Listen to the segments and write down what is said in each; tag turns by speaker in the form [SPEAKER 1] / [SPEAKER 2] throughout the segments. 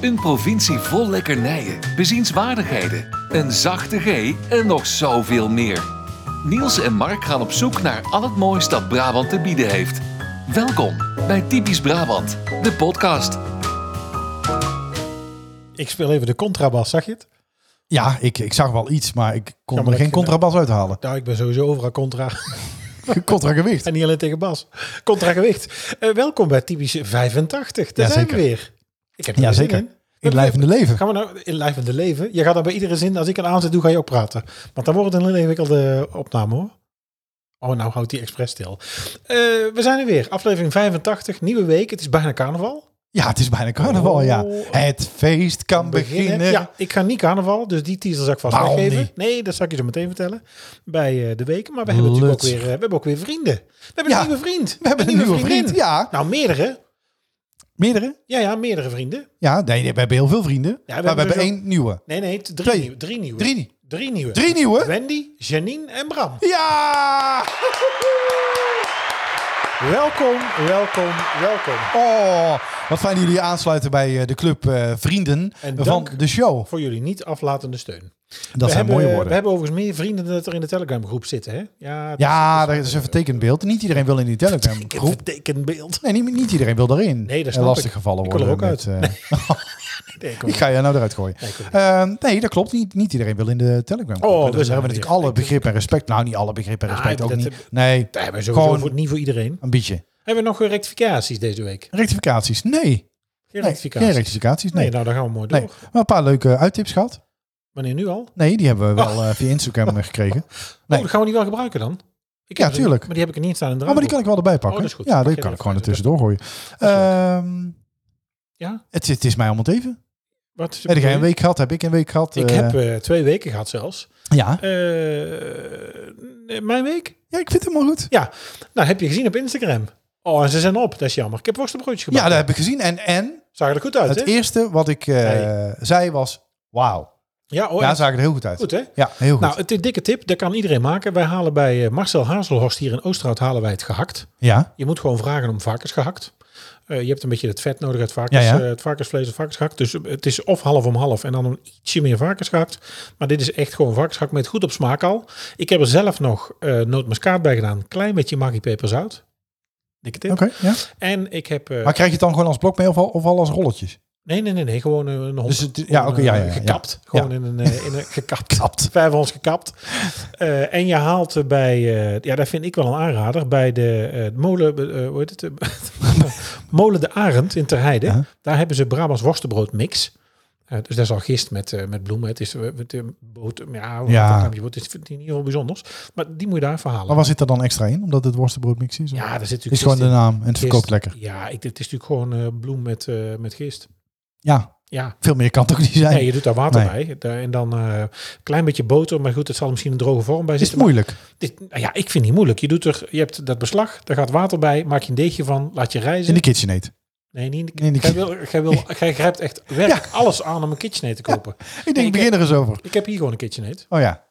[SPEAKER 1] Een provincie vol lekkernijen, bezienswaardigheden, een zachte G en nog zoveel meer. Niels en Mark gaan op zoek naar al het moois dat Brabant te bieden heeft. Welkom bij Typisch Brabant, de podcast.
[SPEAKER 2] Ik speel even de contrabas, zag je het?
[SPEAKER 3] Ja, ik, ik zag wel iets, maar ik kon
[SPEAKER 2] Ja, maar dat
[SPEAKER 3] er geen
[SPEAKER 2] vind ik-
[SPEAKER 3] contrabas uithalen.
[SPEAKER 2] Nou, ik ben sowieso overal contra.
[SPEAKER 3] Contragewicht.
[SPEAKER 2] en niet alleen tegen Bas. Contra gewicht. Eh, welkom bij Typische 85. Daar zijn we
[SPEAKER 3] Jazeker.
[SPEAKER 2] weer. Ik heb er
[SPEAKER 3] Ja,
[SPEAKER 2] weer zin
[SPEAKER 3] zeker.
[SPEAKER 2] in.
[SPEAKER 3] In blijvende leven.
[SPEAKER 2] Gaan we nou in live in de leven? Je gaat dan bij iedere zin, als ik een aanzet doe, ga je ook praten. Want dan wordt het een hele ingewikkelde opname hoor. Oh, nou houdt die expres stil. Eh, we zijn er weer. Aflevering 85, nieuwe week. Het is bijna carnaval.
[SPEAKER 3] Ja, het is bijna carnaval, ja.
[SPEAKER 2] Oh.
[SPEAKER 3] Het feest kan beginnen.
[SPEAKER 2] Ja, ik ga niet carnaval, dus die teaser zal ik vast
[SPEAKER 3] Waarom
[SPEAKER 2] weggeven.
[SPEAKER 3] niet?
[SPEAKER 2] Nee, dat zal ik je zo meteen vertellen bij eh, de weken. Maar we hebben natuurlijk ook
[SPEAKER 3] Luts.
[SPEAKER 2] weer, eh, we hebben ook weer vrienden. We hebben
[SPEAKER 3] Ja,
[SPEAKER 2] een nieuwe vriend.
[SPEAKER 3] We hebben een nieuwe vriend,
[SPEAKER 2] vriendin.
[SPEAKER 3] ja.
[SPEAKER 2] Nou, meerdere.
[SPEAKER 3] Meerdere?
[SPEAKER 2] Ja, ja, meerdere vrienden.
[SPEAKER 3] Ja, nee, nee, we hebben heel veel vrienden. maar we
[SPEAKER 2] hebben
[SPEAKER 3] hebben
[SPEAKER 2] dus
[SPEAKER 3] één nieuwe.
[SPEAKER 2] Nee, nee, t- drie,
[SPEAKER 3] Twee.
[SPEAKER 2] nieuwe- drie nieuwe.
[SPEAKER 3] Drie.
[SPEAKER 2] Drie nieuwe.
[SPEAKER 3] Drie nieuwe?
[SPEAKER 2] Wendy, Janine en Bram.
[SPEAKER 3] Ja!
[SPEAKER 2] Welkom, welkom, welkom.
[SPEAKER 3] Oh, wat fijn dat jullie aansluiten bij eh, de club eh, Vrienden
[SPEAKER 2] En
[SPEAKER 3] van
[SPEAKER 2] dank.
[SPEAKER 3] de show.
[SPEAKER 2] Voor jullie niet aflatende steun.
[SPEAKER 3] Dat
[SPEAKER 2] we
[SPEAKER 3] zijn
[SPEAKER 2] hebben,
[SPEAKER 3] mooie
[SPEAKER 2] We
[SPEAKER 3] woorden.
[SPEAKER 2] hebben overigens meer vrienden dan dat er in de Telegram groep zitten. Hè? Ja, dat
[SPEAKER 3] Ja, dat is een vertekend beeld. Niet iedereen wil in die Telegram
[SPEAKER 2] is
[SPEAKER 3] groep.
[SPEAKER 2] een tekenbeeld.
[SPEAKER 3] Nee, niet, niet iedereen wil daarin.
[SPEAKER 2] Nee, dat
[SPEAKER 3] En
[SPEAKER 2] snap ik.
[SPEAKER 3] lastig gevallen
[SPEAKER 2] Ik wil er
[SPEAKER 3] worden.
[SPEAKER 2] ook
[SPEAKER 3] met, eh,
[SPEAKER 2] Nee, kom
[SPEAKER 3] Ik ga je nou eruit gooien.
[SPEAKER 2] Nee, ik ook
[SPEAKER 3] Ehm, nee, dat klopt niet. Niet iedereen wil in de Telegram.
[SPEAKER 2] Oh,
[SPEAKER 3] dus
[SPEAKER 2] dus
[SPEAKER 3] hebben we
[SPEAKER 2] nou
[SPEAKER 3] natuurlijk
[SPEAKER 2] weer.
[SPEAKER 3] alle begrip en respect. Nou, niet alle begrip en
[SPEAKER 2] Ah,
[SPEAKER 3] respect ook
[SPEAKER 2] dat
[SPEAKER 3] niet.
[SPEAKER 2] heb-
[SPEAKER 3] Nee,
[SPEAKER 2] Daar hebben we sowieso
[SPEAKER 3] gewoon
[SPEAKER 2] voor, niet voor iedereen.
[SPEAKER 3] een beetje.
[SPEAKER 2] Hebben we nog eh, rectificaties deze week?
[SPEAKER 3] Rectificaties? Nee.
[SPEAKER 2] Geen
[SPEAKER 3] Nee,
[SPEAKER 2] rectificaties.
[SPEAKER 3] Geen rectificaties, nee.
[SPEAKER 2] Nee, nou, daar gaan we mooi door.
[SPEAKER 3] nee. Maar een paar leuke uittips gehad.
[SPEAKER 2] Wanneer nu al?
[SPEAKER 3] Nee, die hebben we wel
[SPEAKER 2] Ah.
[SPEAKER 3] eh, via Instagram gekregen. Nee.
[SPEAKER 2] Oh, dat gaan we die wel gebruiken dan? Ik
[SPEAKER 3] Ja,
[SPEAKER 2] heb ze-
[SPEAKER 3] tuurlijk.
[SPEAKER 2] Maar die heb ik er niet staan in de
[SPEAKER 3] Oh, maar die kan ik wel erbij pakken.
[SPEAKER 2] Oh, dat is goed.
[SPEAKER 3] Ja,
[SPEAKER 2] Pak
[SPEAKER 3] die
[SPEAKER 2] jij
[SPEAKER 3] kan ik
[SPEAKER 2] er
[SPEAKER 3] gewoon
[SPEAKER 2] even uit.
[SPEAKER 3] ertussendoor gooien.
[SPEAKER 2] is leuk.
[SPEAKER 3] Ehm,
[SPEAKER 2] Ja?
[SPEAKER 3] het, het is mij om het even.
[SPEAKER 2] Wat is de
[SPEAKER 3] Heb jij een
[SPEAKER 2] bedoeling?
[SPEAKER 3] week gehad? Heb ik een week gehad?
[SPEAKER 2] Ik
[SPEAKER 3] eh,
[SPEAKER 2] heb eh, twee weken gehad zelfs.
[SPEAKER 3] ja.
[SPEAKER 2] Eh, mijn week?
[SPEAKER 3] ja, ik vind het helemaal goed.
[SPEAKER 2] Ja. Nou, heb je gezien op Instagram? Oh, en ze zijn op. Dat is jammer. Ik heb worstenbroodjes
[SPEAKER 3] Ja,
[SPEAKER 2] gebakken.
[SPEAKER 3] dat heb ik gezien. En, en
[SPEAKER 2] Zag er goed uit,
[SPEAKER 3] het
[SPEAKER 2] hè?
[SPEAKER 3] eerste wat ik eh,
[SPEAKER 2] Nee.
[SPEAKER 3] zei was, wauw.
[SPEAKER 2] Ja, oh,
[SPEAKER 3] Ja,
[SPEAKER 2] echt
[SPEAKER 3] zagen er heel goed uit.
[SPEAKER 2] goed, hè?
[SPEAKER 3] Ja, heel goed.
[SPEAKER 2] Nou, het is een dikke tip. Dat kan iedereen maken. Wij halen bij eh, Marcel Hazelhorst hier in Oosterhout halen wij het gehakt.
[SPEAKER 3] ja.
[SPEAKER 2] Je moet gewoon vragen om varkens gehakt. Eh, je hebt een beetje het vet nodig uit varkens,
[SPEAKER 3] Ja, ja.
[SPEAKER 2] eh, het varkensvlees en varkensgehakt. Dus eh, het is of half om half en dan een ietsje meer varkensgehakt. Maar dit is echt gewoon varkensgehakt met goed op smaak al. Ik heb er zelf nog eh nootmuskaat bij gedaan. Een klein beetje maggi-peperzout. Dikke tip.
[SPEAKER 3] Oké, ja.
[SPEAKER 2] En ik heb... eh,
[SPEAKER 3] Maar krijg je het dan gewoon als blok mee of al, of al als rolletjes?
[SPEAKER 2] nee, nee, nee, nee. Gewoon eh, een hond.
[SPEAKER 3] Dus het- ja,
[SPEAKER 2] Gewoon,
[SPEAKER 3] oké, ja,
[SPEAKER 2] eh,
[SPEAKER 3] ja, ja, ja.
[SPEAKER 2] Gekapt. Gewoon in een, eh, in een gekapt.
[SPEAKER 3] Kapt.
[SPEAKER 2] Vijf ons gekapt. Eh, en je haalt eh, bij, eh, ja, dat vind ik wel een aanrader, bij de eh, molen, eh, hoe heet het? Eh, molen de Arend in Terheide.
[SPEAKER 3] Ja.
[SPEAKER 2] Daar hebben ze Brabants worstenbrood mix. Eh, dus dat is al gist met, eh, met bloemen. Het is eh, met, eh, boter, ja,
[SPEAKER 3] Ja.
[SPEAKER 2] ja. het is in ieder geval bijzonders. Maar die moet je daar verhalen.
[SPEAKER 3] Maar waar zit er dan extra in? Omdat het worstenbroodmix is? of?
[SPEAKER 2] ja, daar zit natuurlijk
[SPEAKER 3] is gewoon
[SPEAKER 2] gist
[SPEAKER 3] de
[SPEAKER 2] in.
[SPEAKER 3] naam en het verkoopt
[SPEAKER 2] Gist.
[SPEAKER 3] lekker.
[SPEAKER 2] Ja, ik, het is natuurlijk gewoon eh, bloem met, eh, met gist.
[SPEAKER 3] Ja,
[SPEAKER 2] Ja,
[SPEAKER 3] veel meer kan toch niet zijn?
[SPEAKER 2] Nee, je doet daar water
[SPEAKER 3] Nee.
[SPEAKER 2] bij. Daar- En dan eh, een klein beetje boter. Maar goed, het zal misschien een droge vorm bij
[SPEAKER 3] is het
[SPEAKER 2] zitten.
[SPEAKER 3] moeilijk?
[SPEAKER 2] maar dit, nou ja, ik vind het niet moeilijk. Je, doet er, je hebt dat beslag, daar gaat water bij. Maak je een deegje van, laat je rijzen.
[SPEAKER 3] In de KitchenAid.
[SPEAKER 2] nee, niet in de,
[SPEAKER 3] in de
[SPEAKER 2] jij, wil, jij, wil, jij grijpt echt werkelijk alles aan om een KitchenAid te kopen.
[SPEAKER 3] Ik denk,
[SPEAKER 2] ik
[SPEAKER 3] begin er eens over.
[SPEAKER 2] Ik heb hier gewoon een KitchenAid.
[SPEAKER 3] Oh ja.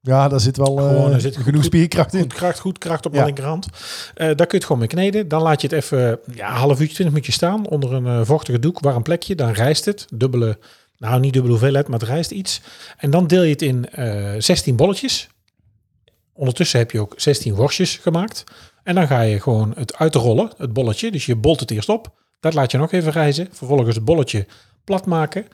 [SPEAKER 3] Ja, daar zit wel eh,
[SPEAKER 2] Gewoon, er zit
[SPEAKER 3] genoeg
[SPEAKER 2] goed-
[SPEAKER 3] spierkracht in.
[SPEAKER 2] Goed kracht, goed kracht op
[SPEAKER 3] Ja.
[SPEAKER 2] mijn linkerhand. Eh, daar kun je het gewoon mee kneden. Dan laat je het even ja, een half uurtje, twintig minuutjes staan. Onder een eh, vochtige doek, warm plekje. Dan rijst het. Dubbele, nou niet dubbele hoeveelheid, maar het rijst iets. En dan deel je het in eh 16 bolletjes. Ondertussen heb je ook 16 worstjes gemaakt. En dan ga je gewoon het uitrollen, het bolletje. Dus je bolt het eerst op. Dat laat je nog even rijzen. Vervolgens het bolletje plat maken.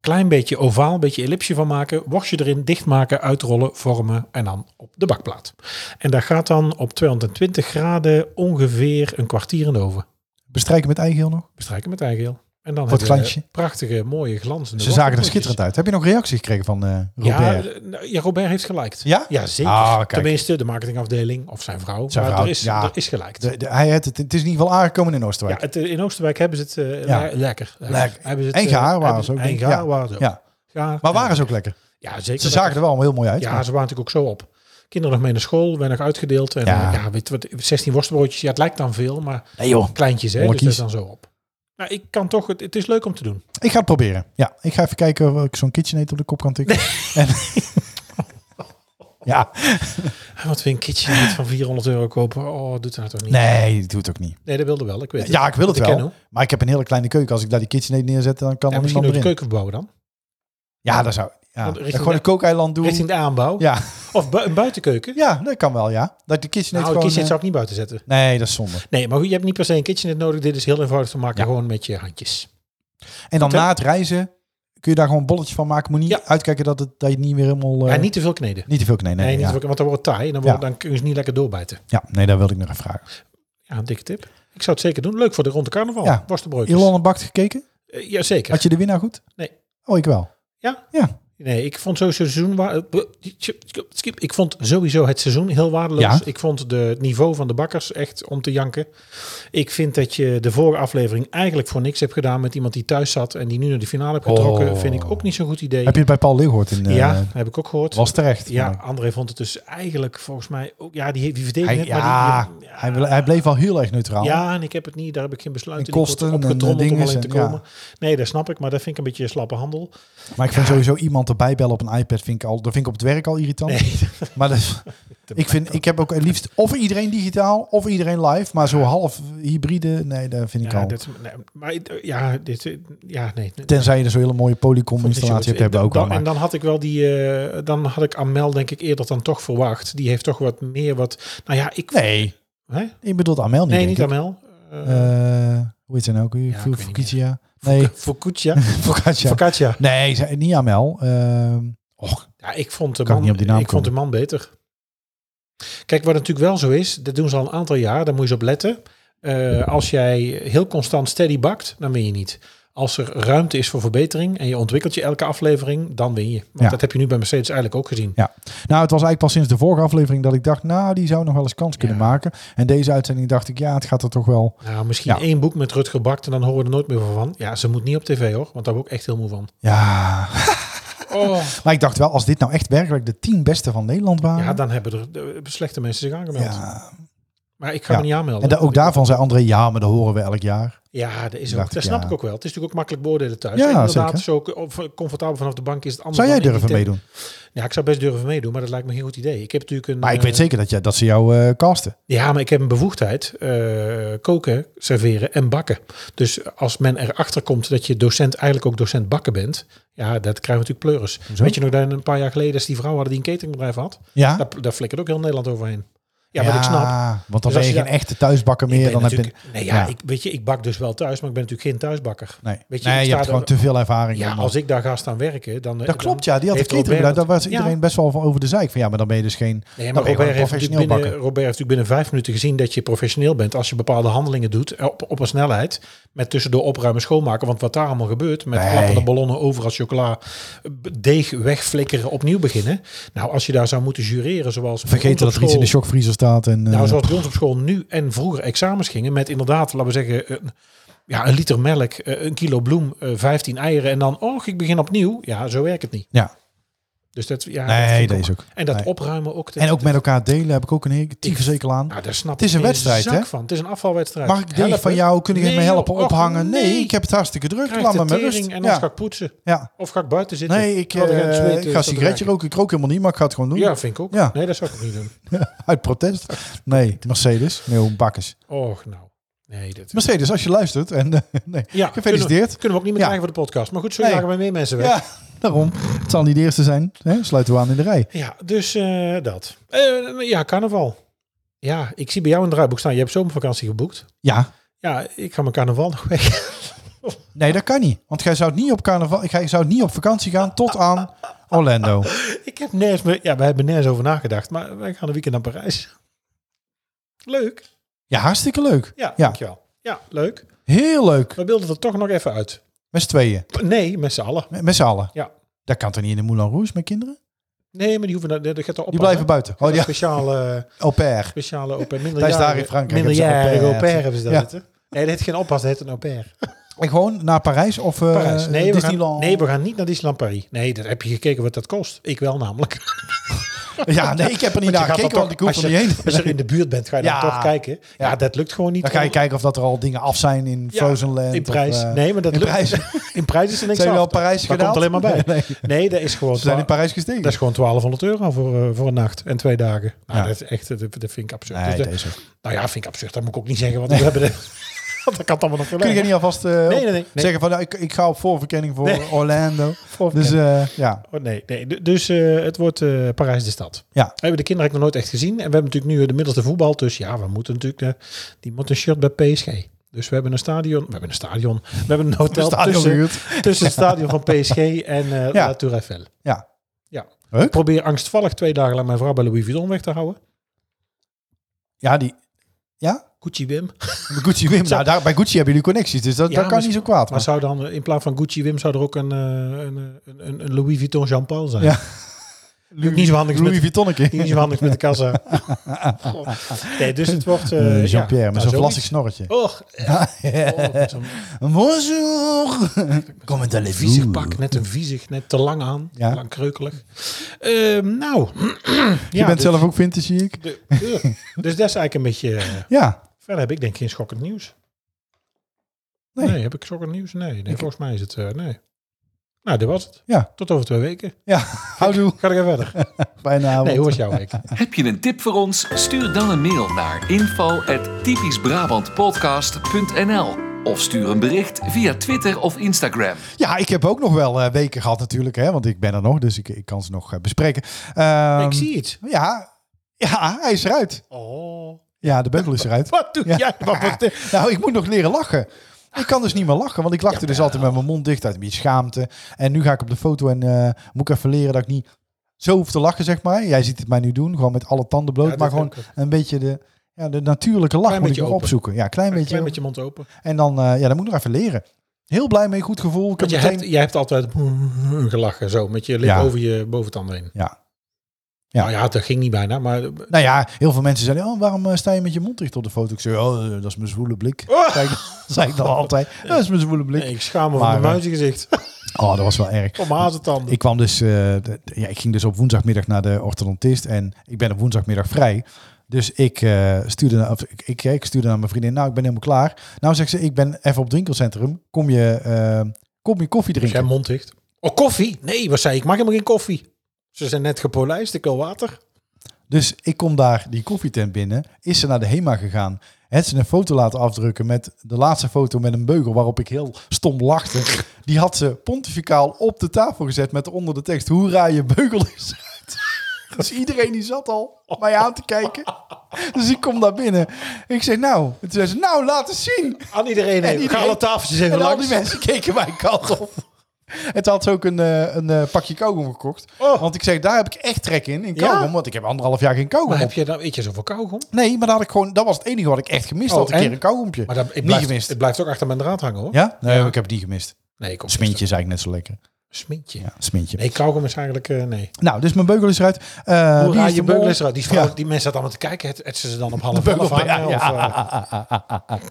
[SPEAKER 2] Klein beetje ovaal, beetje ellipsje van maken. Worstje erin, dichtmaken, uitrollen, vormen en dan op de bakplaat. En daar gaat dan op 220 graden ongeveer een kwartier in de oven.
[SPEAKER 3] Bestrijken met eigeel nog?
[SPEAKER 2] Bestrijken met eigeel. En dan
[SPEAKER 3] Wat
[SPEAKER 2] heb je
[SPEAKER 3] glansje.
[SPEAKER 2] prachtige, mooie glanzende
[SPEAKER 3] Ze zagen er
[SPEAKER 2] worteltjes.
[SPEAKER 3] schitterend uit. Heb je nog reactie gekregen van eh Robert?
[SPEAKER 2] Ja, eh, nou, ja, Robert heeft geliked.
[SPEAKER 3] Ja?
[SPEAKER 2] Ja, zeker.
[SPEAKER 3] Ah, kijk.
[SPEAKER 2] Tenminste, de marketingafdeling of zijn vrouw.
[SPEAKER 3] Zijn
[SPEAKER 2] maar
[SPEAKER 3] vrouw,
[SPEAKER 2] er, is,
[SPEAKER 3] ja.
[SPEAKER 2] er is geliked.
[SPEAKER 3] De- de- hij had het, het is in ieder geval aangekomen in
[SPEAKER 2] ja,
[SPEAKER 3] Oosterwijk.
[SPEAKER 2] het, eh, in Oosterwijk hebben ze het eh,
[SPEAKER 3] Ja.
[SPEAKER 2] le- lekker.
[SPEAKER 3] Lekker.
[SPEAKER 2] Hebben ze het,
[SPEAKER 3] En
[SPEAKER 2] eh,
[SPEAKER 3] gaar waren
[SPEAKER 2] hebben-
[SPEAKER 3] ze ook,
[SPEAKER 2] En
[SPEAKER 3] denk ik.
[SPEAKER 2] gaar
[SPEAKER 3] Ja.
[SPEAKER 2] waren ze ook.
[SPEAKER 3] Ja.
[SPEAKER 2] Gaar
[SPEAKER 3] Maar
[SPEAKER 2] en-
[SPEAKER 3] waren ze ook lekker?
[SPEAKER 2] Ja, zeker.
[SPEAKER 3] Ze zagen er wel heel mooi uit.
[SPEAKER 2] Ja,
[SPEAKER 3] maar-
[SPEAKER 2] ze waren natuurlijk ook zo op. Kinderen nog mee naar school, weinig uitgedeeld. En eh,
[SPEAKER 3] Ja.
[SPEAKER 2] ja, ja weet je wat, 16 worstenbroodjes, ja, het lijkt dan veel, maar
[SPEAKER 3] Nee, joh.
[SPEAKER 2] kleintjes, hè, dus dat
[SPEAKER 3] Molletjes.
[SPEAKER 2] is dan zo op. Maar Nou, ik kan toch, het, het is leuk om te doen.
[SPEAKER 3] Ik ga het proberen. Ja, ik ga even kijken of ik zo'n KitchenAid op de kop kan tikken. En, ja,
[SPEAKER 2] Ah, Wat vind ik een kitchen niet van 400 euro kopen? Oh, doet dat toch niet?
[SPEAKER 3] Nee, dat doet ook niet.
[SPEAKER 2] Nee, dat wilde wel. Ik weet het.
[SPEAKER 3] Ja, ik wil het
[SPEAKER 2] Ik ken
[SPEAKER 3] wel.
[SPEAKER 2] hem.
[SPEAKER 3] Maar ik heb een hele kleine keuken. Als ik daar die KitchenAid neerzet, dan kan
[SPEAKER 2] Ja,
[SPEAKER 3] er
[SPEAKER 2] misschien
[SPEAKER 3] niemand
[SPEAKER 2] ook de
[SPEAKER 3] erin.
[SPEAKER 2] keuken verbouwen dan.
[SPEAKER 3] Ja, dat zou... Ja.
[SPEAKER 2] Want richting
[SPEAKER 3] gewoon
[SPEAKER 2] de-
[SPEAKER 3] een kookeiland doen.
[SPEAKER 2] Richting de aanbouw.
[SPEAKER 3] Ja.
[SPEAKER 2] Of bu- een buitenkeuken.
[SPEAKER 3] ja, dat kan wel, ja. Dat de KitchenAid
[SPEAKER 2] nou, een
[SPEAKER 3] gewoon...
[SPEAKER 2] kitchen
[SPEAKER 3] eh,
[SPEAKER 2] zou ik niet buiten zetten.
[SPEAKER 3] Nee, dat is zonde.
[SPEAKER 2] Nee, maar goed, je hebt niet per se een kitchenet nodig. Dit is heel eenvoudig te maken,
[SPEAKER 3] Ja.
[SPEAKER 2] gewoon met je handjes.
[SPEAKER 3] En dan
[SPEAKER 2] Goed, hè?
[SPEAKER 3] na het reizen kun je daar gewoon een bolletje van maken. Moet niet
[SPEAKER 2] Ja.
[SPEAKER 3] uitkijken dat, het, dat je het niet meer helemaal... eh,
[SPEAKER 2] en niet te veel kneden.
[SPEAKER 3] niet te veel kneden.
[SPEAKER 2] Nee,
[SPEAKER 3] Nee,
[SPEAKER 2] niet
[SPEAKER 3] ja.
[SPEAKER 2] te veel, want dan wordt het taai en dan, wordt,
[SPEAKER 3] Ja.
[SPEAKER 2] dan kun je ze niet lekker doorbijten.
[SPEAKER 3] ja, nee, daar wilde ik nog even vragen.
[SPEAKER 2] Ja, een dikke tip. Ik zou het zeker doen. Leuk voor de ronde carnaval.
[SPEAKER 3] Ja.
[SPEAKER 2] Ja. Worstenbroodjes.
[SPEAKER 3] Elon een bakt gekeken?
[SPEAKER 2] Eh, ja, zeker.
[SPEAKER 3] Had je de winnaar goed?
[SPEAKER 2] Nee.
[SPEAKER 3] Oh, ik wel.
[SPEAKER 2] Nee, ik vond sowieso het seizoen... wa- eh, Skip. Ik vond sowieso het seizoen heel waardeloos.
[SPEAKER 3] Ja.
[SPEAKER 2] Ik vond de, het niveau van de bakkers echt om te janken. Ik vind dat je de vorige aflevering eigenlijk voor niks hebt gedaan... met iemand die thuis zat en die nu naar de finale hebt getrokken.
[SPEAKER 3] Oh.
[SPEAKER 2] Vind ik ook niet zo'n goed idee.
[SPEAKER 3] Heb je het bij Paul Leeuwhoort in... eh,
[SPEAKER 2] ja, heb ik ook gehoord.
[SPEAKER 3] was terecht.
[SPEAKER 2] Ja,
[SPEAKER 3] Maar
[SPEAKER 2] André vond het dus eigenlijk volgens mij ook. Ja, die, die verdedigde
[SPEAKER 3] Hij,
[SPEAKER 2] het, maar
[SPEAKER 3] ja,
[SPEAKER 2] die, ja,
[SPEAKER 3] hij, ble- hij bleef wel heel erg neutraal.
[SPEAKER 2] ja, en ik heb het niet. Daar heb ik geen besluit
[SPEAKER 3] En
[SPEAKER 2] in. Ik word
[SPEAKER 3] kosten en,
[SPEAKER 2] opgetrommeld
[SPEAKER 3] en
[SPEAKER 2] om alleen
[SPEAKER 3] dingen
[SPEAKER 2] te
[SPEAKER 3] en- ja.
[SPEAKER 2] komen. Nee, dat snap ik, maar dat vind ik een beetje slappe handel.
[SPEAKER 3] Maar ik vind sowieso iemand erbij bellen op een iPad vind ik al, dat vind ik op het werk al irritant.
[SPEAKER 2] Nee,
[SPEAKER 3] Maar dat is- ik, vind, ik heb ook het liefst of iedereen digitaal of iedereen live. Maar zo half hybride, nee, dat vind ik
[SPEAKER 2] ja,
[SPEAKER 3] al.
[SPEAKER 2] dit, nee, maar eh, ja, dit, ja, nee.
[SPEAKER 3] Tenzij je er zo'n hele mooie polycom installatie hebt, hebben we ook
[SPEAKER 2] dan,
[SPEAKER 3] wel. Maar
[SPEAKER 2] En dan had ik wel die, eh, dan had ik Amel denk ik eerder dan toch verwacht. Die heeft toch wat meer wat. Nou ja, ik.
[SPEAKER 3] Nee.
[SPEAKER 2] Hè?
[SPEAKER 3] ik bedoel het Amel niet,
[SPEAKER 2] Nee,
[SPEAKER 3] denk
[SPEAKER 2] niet
[SPEAKER 3] ik.
[SPEAKER 2] Amel. Uh,
[SPEAKER 3] Eh, hoe heet ze nou ook weer?
[SPEAKER 2] Ja, ik weet niet
[SPEAKER 3] Fukitia? Nee,
[SPEAKER 2] Focaccia.
[SPEAKER 3] Focaccia.
[SPEAKER 2] Focaccia.
[SPEAKER 3] Nee, ze- niet Amel. Ehm, och,
[SPEAKER 2] Ja, ik vond de
[SPEAKER 3] Kan
[SPEAKER 2] man,
[SPEAKER 3] niet op die naam
[SPEAKER 2] ik vond de man beter. Kijk, wat natuurlijk wel zo is, dat doen ze al een aantal jaar, daar moet je eens op letten. Eh, als jij heel constant steady bakt, dan win je niet. Als er ruimte is voor verbetering en je ontwikkelt je elke aflevering, dan win je. Want
[SPEAKER 3] Ja.
[SPEAKER 2] dat heb je nu bij Mercedes eigenlijk ook gezien.
[SPEAKER 3] Nou, het was eigenlijk pas sinds de vorige aflevering dat ik dacht, nou, die zou nog wel eens kans kunnen
[SPEAKER 2] Ja.
[SPEAKER 3] maken. En deze uitzending dacht ik, ja, het gaat er toch wel.
[SPEAKER 2] Nou, misschien
[SPEAKER 3] Ja.
[SPEAKER 2] één boek met Rutger Bakt en dan horen we er nooit meer van. Ja, ze moet niet op tv hoor, want daar word ik echt heel moe van.
[SPEAKER 3] Ja.
[SPEAKER 2] Oh.
[SPEAKER 3] Maar ik dacht wel, als dit nou echt werkelijk de tien beste van Nederland waren.
[SPEAKER 2] Ja, dan hebben er eh, slechte mensen zich aangemeld.
[SPEAKER 3] Ah. Ja.
[SPEAKER 2] Maar ik ga
[SPEAKER 3] Ja.
[SPEAKER 2] me niet aanmelden.
[SPEAKER 3] En da- ook
[SPEAKER 2] Want ik-
[SPEAKER 3] daarvan zei André, ja, maar dat horen we elk jaar.
[SPEAKER 2] Ja, dat, is
[SPEAKER 3] Dacht
[SPEAKER 2] ook, dat
[SPEAKER 3] ik,
[SPEAKER 2] snap
[SPEAKER 3] ja.
[SPEAKER 2] ik ook wel. Het is natuurlijk ook makkelijk beoordelen thuis.
[SPEAKER 3] Ja,
[SPEAKER 2] En inderdaad,
[SPEAKER 3] zeker.
[SPEAKER 2] zo co- comfortabel vanaf de bank is het anders.
[SPEAKER 3] Zou jij
[SPEAKER 2] dan in
[SPEAKER 3] durven
[SPEAKER 2] die tent.
[SPEAKER 3] meedoen?
[SPEAKER 2] Ja, ik zou best durven meedoen, maar dat lijkt me geen goed idee. Ik heb natuurlijk een.
[SPEAKER 3] Maar ik
[SPEAKER 2] eh,
[SPEAKER 3] weet zeker dat, jij, dat ze jou eh, casten.
[SPEAKER 2] Ja, maar ik heb een bevoegdheid: eh, koken, serveren en bakken. Dus als men erachter komt dat je docent eigenlijk ook docent bakken bent, ja, dat krijgen we natuurlijk pleuris.
[SPEAKER 3] Hoezo?
[SPEAKER 2] Weet je nog dat een paar jaar geleden, als die vrouw hadden die een cateringbedrijf had,
[SPEAKER 3] Ja?
[SPEAKER 2] daar, daar flikkert ook heel Nederland overheen. Ja, wat ik snap.
[SPEAKER 3] Want dan
[SPEAKER 2] Dus als
[SPEAKER 3] ben je
[SPEAKER 2] je
[SPEAKER 3] geen
[SPEAKER 2] daar-
[SPEAKER 3] echte thuisbakker
[SPEAKER 2] Ik
[SPEAKER 3] meer.
[SPEAKER 2] ben
[SPEAKER 3] Dan heb je...
[SPEAKER 2] natuurlijk- Nee, ja,
[SPEAKER 3] ja.
[SPEAKER 2] Ik, weet je, ik bak dus wel thuis, maar ik ben natuurlijk geen thuisbakker.
[SPEAKER 3] Nee,
[SPEAKER 2] Weet je,
[SPEAKER 3] nee,
[SPEAKER 2] ik
[SPEAKER 3] je
[SPEAKER 2] sta
[SPEAKER 3] hebt
[SPEAKER 2] daar-
[SPEAKER 3] gewoon te veel ervaring.
[SPEAKER 2] Ja,
[SPEAKER 3] om-
[SPEAKER 2] als ik daar ga staan werken, dan...
[SPEAKER 3] Dat klopt, ja. Die had een
[SPEAKER 2] heeft
[SPEAKER 3] cateringbedrijf. Daar
[SPEAKER 2] Robert-
[SPEAKER 3] was iedereen
[SPEAKER 2] Ja.
[SPEAKER 3] best wel van over de zeik. Van ja, maar dan ben je dus geen...
[SPEAKER 2] Nee,
[SPEAKER 3] Dan
[SPEAKER 2] maar
[SPEAKER 3] ben je gewoon
[SPEAKER 2] Robert heeft,
[SPEAKER 3] professioneel
[SPEAKER 2] natuurlijk binnen,
[SPEAKER 3] bakken.
[SPEAKER 2] Robert heeft natuurlijk binnen vijf minuten gezien dat je professioneel bent als je bepaalde handelingen doet eh, op, op een snelheid met tussendoor opruimen, schoonmaken. Want wat daar allemaal gebeurt met
[SPEAKER 3] Nee.
[SPEAKER 2] klappende ballonnen overal chocola, eh, deeg wegflikkeren, opnieuw beginnen. Nou, als je daar zou moeten jureren zoals bij ons
[SPEAKER 3] Vergeten
[SPEAKER 2] op
[SPEAKER 3] dat er iets in de
[SPEAKER 2] school-
[SPEAKER 3] shockvriezer staat. En, eh,
[SPEAKER 2] Nou, zoals bij ons op school nu en vroeger examens gingen met inderdaad, laten we zeggen, een, ja, een liter melk, eh, een kilo bloem, eh, 15 eieren en dan, oh, ik begin opnieuw. Ja, zo werkt het niet.
[SPEAKER 3] Ja.
[SPEAKER 2] Dus dat, ja, dat vind
[SPEAKER 3] Nee,
[SPEAKER 2] ik
[SPEAKER 3] dat is ook.
[SPEAKER 2] En dat
[SPEAKER 3] Nee.
[SPEAKER 2] opruimen ook. dat-
[SPEAKER 3] En ook met elkaar delen heb ik ook een tieve zekel aan.
[SPEAKER 2] Nou, daar snap
[SPEAKER 3] Het is
[SPEAKER 2] ik
[SPEAKER 3] een
[SPEAKER 2] geen
[SPEAKER 3] wedstrijd,
[SPEAKER 2] zak
[SPEAKER 3] hè?
[SPEAKER 2] Van. Het is een afvalwedstrijd.
[SPEAKER 3] Mag ik
[SPEAKER 2] Help
[SPEAKER 3] dingen van
[SPEAKER 2] me.
[SPEAKER 3] jou? Kun je
[SPEAKER 2] Nee,
[SPEAKER 3] me helpen
[SPEAKER 2] joh, och,
[SPEAKER 3] ophangen? Nee,
[SPEAKER 2] nee.
[SPEAKER 3] ik heb het hartstikke druk.
[SPEAKER 2] Krijg
[SPEAKER 3] Laat
[SPEAKER 2] de
[SPEAKER 3] me met rust.
[SPEAKER 2] tering en dan
[SPEAKER 3] Ja,
[SPEAKER 2] ga ik poetsen.
[SPEAKER 3] ja.
[SPEAKER 2] Of ga ik buiten zitten.
[SPEAKER 3] Nee, ik
[SPEAKER 2] Terwijl er aan het
[SPEAKER 3] eh,
[SPEAKER 2] zweten is,
[SPEAKER 3] ik ga
[SPEAKER 2] dat
[SPEAKER 3] een sigaretje
[SPEAKER 2] raak ik.
[SPEAKER 3] roken. Ik rook helemaal niet, maar ik ga het gewoon doen.
[SPEAKER 2] Ja, vind ik ook.
[SPEAKER 3] Ja.
[SPEAKER 2] Nee, dat zou ik ook niet doen.
[SPEAKER 3] Uit protest. Nee, Mercedes. Nee, bakkers.
[SPEAKER 2] Och, nou. Nee, dat...
[SPEAKER 3] Mercedes, als je luistert. En, eh, nee.
[SPEAKER 2] Ja, Kunnen
[SPEAKER 3] Gefeliciteerd.
[SPEAKER 2] we, kunnen we ook niet meer
[SPEAKER 3] Ja.
[SPEAKER 2] krijgen voor de podcast. Maar goed, zo
[SPEAKER 3] Nee.
[SPEAKER 2] jagen we meer mensen weg. Ja,
[SPEAKER 3] Ja, daarom. Het zal niet de eerste zijn. Hè? Sluiten we aan in de rij.
[SPEAKER 2] dus eh, dat. Eh, ja, carnaval. Ja, ik zie bij jou een draaiboek staan. Je hebt zomervakantie geboekt.
[SPEAKER 3] Ja.
[SPEAKER 2] Ja, ik ga mijn carnaval nog weg.
[SPEAKER 3] Nee, dat kan niet. Want jij zou het niet op carnaval, jij zou het niet op vakantie gaan tot aan Orlando.
[SPEAKER 2] ik heb nergens meer... Ja, wij hebben nergens over nagedacht. Maar wij gaan een weekend naar Parijs. Leuk.
[SPEAKER 3] Ja, hartstikke leuk.
[SPEAKER 2] Ja,
[SPEAKER 3] Ja.
[SPEAKER 2] dankjewel. Ja, leuk.
[SPEAKER 3] Heel leuk.
[SPEAKER 2] We beelden het er toch nog even uit.
[SPEAKER 3] Met z'n tweeën.
[SPEAKER 2] Nee, met z'n allen.
[SPEAKER 3] Met, met z'n allen.
[SPEAKER 2] Ja.
[SPEAKER 3] Dat kan toch niet in de Moulin Rouge met kinderen?
[SPEAKER 2] Nee, maar die hoeven dat, dat gaat erop.
[SPEAKER 3] Die blijven buiten. Oh ja,
[SPEAKER 2] Speciale,
[SPEAKER 3] au pair.
[SPEAKER 2] speciale au pair.
[SPEAKER 3] Daar is
[SPEAKER 2] Minderjarige,
[SPEAKER 3] daar in Frankrijk, hebben
[SPEAKER 2] minderjarige
[SPEAKER 3] ze
[SPEAKER 2] au
[SPEAKER 3] au pair.
[SPEAKER 2] pair hebben ze daar
[SPEAKER 3] Ja.
[SPEAKER 2] zitten. Nee, dat heet geen oppas, dat heet een au pair.
[SPEAKER 3] En gewoon naar Parijs of eh,
[SPEAKER 2] Parijs. Nee we, gaan,
[SPEAKER 3] Disneyland?
[SPEAKER 2] nee, we gaan niet naar Disneyland Paris. Nee, daar heb je gekeken wat dat kost. Ik wel namelijk.
[SPEAKER 3] Ja, nee, ik heb er
[SPEAKER 2] Want
[SPEAKER 3] niet
[SPEAKER 2] je
[SPEAKER 3] naar
[SPEAKER 2] gaat dan
[SPEAKER 3] gekeken, want
[SPEAKER 2] toch,
[SPEAKER 3] ik hoef
[SPEAKER 2] als,
[SPEAKER 3] er
[SPEAKER 2] je,
[SPEAKER 3] niet heen.
[SPEAKER 2] als je er in de buurt bent, ga je
[SPEAKER 3] Ja.
[SPEAKER 2] dan toch kijken. Ja,
[SPEAKER 3] Ja.
[SPEAKER 2] dat lukt gewoon niet.
[SPEAKER 3] Dan ga je kijken of dat er al dingen af zijn in
[SPEAKER 2] Ja,
[SPEAKER 3] Frozen Land.
[SPEAKER 2] in prijs.
[SPEAKER 3] of, eh,
[SPEAKER 2] nee, maar dat
[SPEAKER 3] in
[SPEAKER 2] lukt.
[SPEAKER 3] prijs.
[SPEAKER 2] In prijs is er niks
[SPEAKER 3] Zijn we
[SPEAKER 2] af.
[SPEAKER 3] wel Parijs
[SPEAKER 2] dat
[SPEAKER 3] gedaald?
[SPEAKER 2] komt alleen maar bij.
[SPEAKER 3] Nee,
[SPEAKER 2] Nee,
[SPEAKER 3] nee.
[SPEAKER 2] dat is gewoon,
[SPEAKER 3] Ze zijn in
[SPEAKER 2] twa-
[SPEAKER 3] Parijs
[SPEAKER 2] dat
[SPEAKER 3] gestiegen.
[SPEAKER 2] is gewoon 1200 euro voor, eh, voor een nacht en twee dagen. Nou,
[SPEAKER 3] Ja.
[SPEAKER 2] dat, is echt, dat, dat vind ik absurd.
[SPEAKER 3] Nee,
[SPEAKER 2] Dus dat-
[SPEAKER 3] deze.
[SPEAKER 2] nou ja, vind ik absurd. Dat moet ik ook niet zeggen, want we hebben... De, want dat kan het allemaal nog wel
[SPEAKER 3] Kun je niet alvast eh,
[SPEAKER 2] nee, nee, nee.
[SPEAKER 3] zeggen van, nou, ik, ik ga op voorverkenning voor
[SPEAKER 2] Nee.
[SPEAKER 3] Orlando.
[SPEAKER 2] Voor-
[SPEAKER 3] Dus eh, ja,
[SPEAKER 2] Oh, nee, nee. Du- Dus eh, het wordt eh, Parijs de stad.
[SPEAKER 3] Ja.
[SPEAKER 2] We hebben de kinderen eigenlijk nog nooit echt gezien. En we hebben natuurlijk nu de middelste voetbal. Dus ja, we moeten natuurlijk... eh, die moet een shirt bij PSG. Dus we hebben een stadion. We hebben een stadion. We hebben een hotel
[SPEAKER 3] stadion
[SPEAKER 2] tussen,
[SPEAKER 3] gehuurd.
[SPEAKER 2] tussen het stadion van PSG en eh
[SPEAKER 3] Ja.
[SPEAKER 2] La Tour Eiffel.
[SPEAKER 3] Ja.
[SPEAKER 2] Ja.
[SPEAKER 3] Leuk.
[SPEAKER 2] Ik probeer angstvallig twee dagen lang mijn vrouw bij Louis Vuitton weg te houden.
[SPEAKER 3] Ja, die
[SPEAKER 2] Gucci Wim.
[SPEAKER 3] Gucci Wim. Nou, daar, bij Gucci hebben jullie connecties, dus dat,
[SPEAKER 2] Ja,
[SPEAKER 3] dat kan
[SPEAKER 2] maar-
[SPEAKER 3] niet zo kwaad.
[SPEAKER 2] Maar
[SPEAKER 3] Maar.
[SPEAKER 2] zou dan eh, in plaats van Gucci Wim zou er ook een, eh, een, eh, een, een Louis Vuitton Jean-Paul zijn?
[SPEAKER 3] Ja.
[SPEAKER 2] Doe ik niet zo handig met-
[SPEAKER 3] Louis Vuittonneke.
[SPEAKER 2] Niet zo handig met de kassa. nee, dus het wordt... eh,
[SPEAKER 3] Eh,
[SPEAKER 2] ja,
[SPEAKER 3] Jean-Pierre,
[SPEAKER 2] nou,
[SPEAKER 3] met zo'n
[SPEAKER 2] zoiets.
[SPEAKER 3] plastic snorretje.
[SPEAKER 2] Och, eh, zo'n
[SPEAKER 3] Bonjour. Comment
[SPEAKER 2] viezig
[SPEAKER 3] allez-vous?
[SPEAKER 2] pak. Net een viezig, net te lang aan.
[SPEAKER 3] Ja.
[SPEAKER 2] Lang kreukelig. Ehm, nou.
[SPEAKER 3] Je bent
[SPEAKER 2] dus-
[SPEAKER 3] zelf ook vintage, zie ik.
[SPEAKER 2] De, de- dus dat is eigenlijk een beetje... eh,
[SPEAKER 3] Ja,
[SPEAKER 2] verder heb ik denk ik geen schokkend nieuws.
[SPEAKER 3] Nee.
[SPEAKER 2] Nee, heb ik schokkend nieuws? Nee, nee volgens mij is het... eh, nee. Nou, dit was het.
[SPEAKER 3] Ja.
[SPEAKER 2] Tot over twee weken.
[SPEAKER 3] ja. Houdoe.
[SPEAKER 2] Ga ik even verder.
[SPEAKER 3] Bijna.
[SPEAKER 2] Nee, hoe was jouw week?
[SPEAKER 3] eh,
[SPEAKER 1] Heb je een tip voor ons? Stuur dan een mail naar info@typischbrabantpodcast.nl of stuur een bericht via Twitter of Instagram.
[SPEAKER 3] Ja, ik heb ook nog wel eh, weken gehad natuurlijk, hè, want ik ben er nog, dus ik, ik kan ze nog eh, bespreken. Ehm,
[SPEAKER 2] ik zie iets.
[SPEAKER 3] Ja, ja, hij is eruit.
[SPEAKER 2] Oh.
[SPEAKER 3] Ja, de beugel is eruit.
[SPEAKER 2] Wat doe
[SPEAKER 3] Ja.
[SPEAKER 2] jij? Wat wordt dit?
[SPEAKER 3] Nou, ik moet nog leren lachen. Ik kan dus niet meer lachen, want ik lachte dus altijd met mijn mond dicht uit een beetje schaamte. En nu ga ik op de foto en eh, moet ik even leren dat ik niet zo hoef te lachen, zeg maar. Jij ziet het mij nu doen, gewoon met alle tanden bloot,
[SPEAKER 2] Ja,
[SPEAKER 3] maar
[SPEAKER 2] dat
[SPEAKER 3] gewoon
[SPEAKER 2] heb ik
[SPEAKER 3] een beetje de, ja, de natuurlijke lach
[SPEAKER 2] Klein
[SPEAKER 3] moet ik
[SPEAKER 2] beetje
[SPEAKER 3] nog
[SPEAKER 2] open.
[SPEAKER 3] opzoeken. Ja, klein beetje.
[SPEAKER 2] Klein met je mond open.
[SPEAKER 3] En dan, eh, ja, dan moet ik nog even leren. Heel blij mee, goed gevoel. Ik heb
[SPEAKER 2] Want je
[SPEAKER 3] meteen...
[SPEAKER 2] hebt, jij hebt altijd gelachen zo, met je lip
[SPEAKER 3] Ja.
[SPEAKER 2] over je boventanden heen.
[SPEAKER 3] Ja. Ja.
[SPEAKER 2] Ja. Nou ja, dat ging niet bijna, maar...
[SPEAKER 3] Nou ja, heel veel mensen zeiden, oh, waarom eh, sta je met je mond dicht op de foto? Ik zei, oh, eh, dat is mijn zwoele blik. Zei, ik, zei ik dan altijd. Dat is mijn zwoele blik.
[SPEAKER 2] Ah! Nee, ik schaam me
[SPEAKER 3] Maar,
[SPEAKER 2] van mijn
[SPEAKER 3] eh,
[SPEAKER 2] muizengezicht.
[SPEAKER 3] Oh, dat was wel erg.
[SPEAKER 2] Op mijn hazentanden.
[SPEAKER 3] Ik kwam dus, eh, de- de- ja, ik ging dus op woensdagmiddag naar de orthodontist en ik ben op woensdagmiddag vrij. Dus ik, eh, stuurde, naar- of ik, ik, ik stuurde naar mijn vriendin, nou, ik ben helemaal klaar. Nou, zegt ze, ik ben even op het winkelcentrum. Kom je, eh, kom je koffie
[SPEAKER 2] Dus jij
[SPEAKER 3] drinken?
[SPEAKER 2] mond dicht. Oh, koffie? Nee, wat zei ik? Ik Mag helemaal geen koffie. Ze zijn net gepolijst, ik wil water.
[SPEAKER 3] Dus ik kom daar die koffietent binnen. Is ze naar de HEMA gegaan. Het ze een foto laten afdrukken met de laatste foto met een beugel waarop ik heel stom lachte. Die had ze pontificaal op de tafel gezet met onder de tekst: Hoera, je beugel is uit. Dus iedereen die zat al op mij aan te kijken. Dus ik kom daar binnen. Ik zeg: Nou, en toen zei ze: Nou, laat eens zien.
[SPEAKER 2] Aan iedereen heen.
[SPEAKER 3] iedereen-
[SPEAKER 2] Ga alle tafeltjes even
[SPEAKER 3] En al
[SPEAKER 2] langs.
[SPEAKER 3] die mensen keken mijn kant op. En toen had ze ook een, eh, een eh, pakje kauwgom gekocht.
[SPEAKER 2] Oh.
[SPEAKER 3] Want ik zeg, daar heb ik echt trek in, in
[SPEAKER 2] Ja?
[SPEAKER 3] kauwgom. Want ik heb anderhalf jaar geen kauwgom
[SPEAKER 2] Maar
[SPEAKER 3] op.
[SPEAKER 2] heb je dan, weet je zoveel kauwgom?
[SPEAKER 3] Nee, maar dat, had ik gewoon, dat was het enige wat ik echt gemist
[SPEAKER 2] Oh,
[SPEAKER 3] had. Een
[SPEAKER 2] en?
[SPEAKER 3] keer een kauwgompje.
[SPEAKER 2] Maar dat, het,
[SPEAKER 3] Niet
[SPEAKER 2] blijft,
[SPEAKER 3] gemist.
[SPEAKER 2] het blijft ook achter mijn draad hangen, hoor.
[SPEAKER 3] Ja? Nee,
[SPEAKER 2] Ja.
[SPEAKER 3] ik heb die gemist.
[SPEAKER 2] Nee, ik ook niet.
[SPEAKER 3] Smintje is eigenlijk net zo lekker.
[SPEAKER 2] Smintje.
[SPEAKER 3] Ja, smintje.
[SPEAKER 2] Nee, kauwgom is eigenlijk... eh, nee.
[SPEAKER 3] Nou, dus mijn beugel is eruit. Eh,
[SPEAKER 2] Hoe
[SPEAKER 3] wie
[SPEAKER 2] raar
[SPEAKER 3] is
[SPEAKER 2] je
[SPEAKER 3] de mol?
[SPEAKER 2] beugel is eruit? Die, vrouw,
[SPEAKER 3] Ja.
[SPEAKER 2] die mensen zaten allemaal te kijken. Het, etsen ze dan op half
[SPEAKER 3] beugel,
[SPEAKER 2] half hangen?
[SPEAKER 3] ja,
[SPEAKER 2] Of,
[SPEAKER 3] ja.
[SPEAKER 2] eh,
[SPEAKER 3] Eh,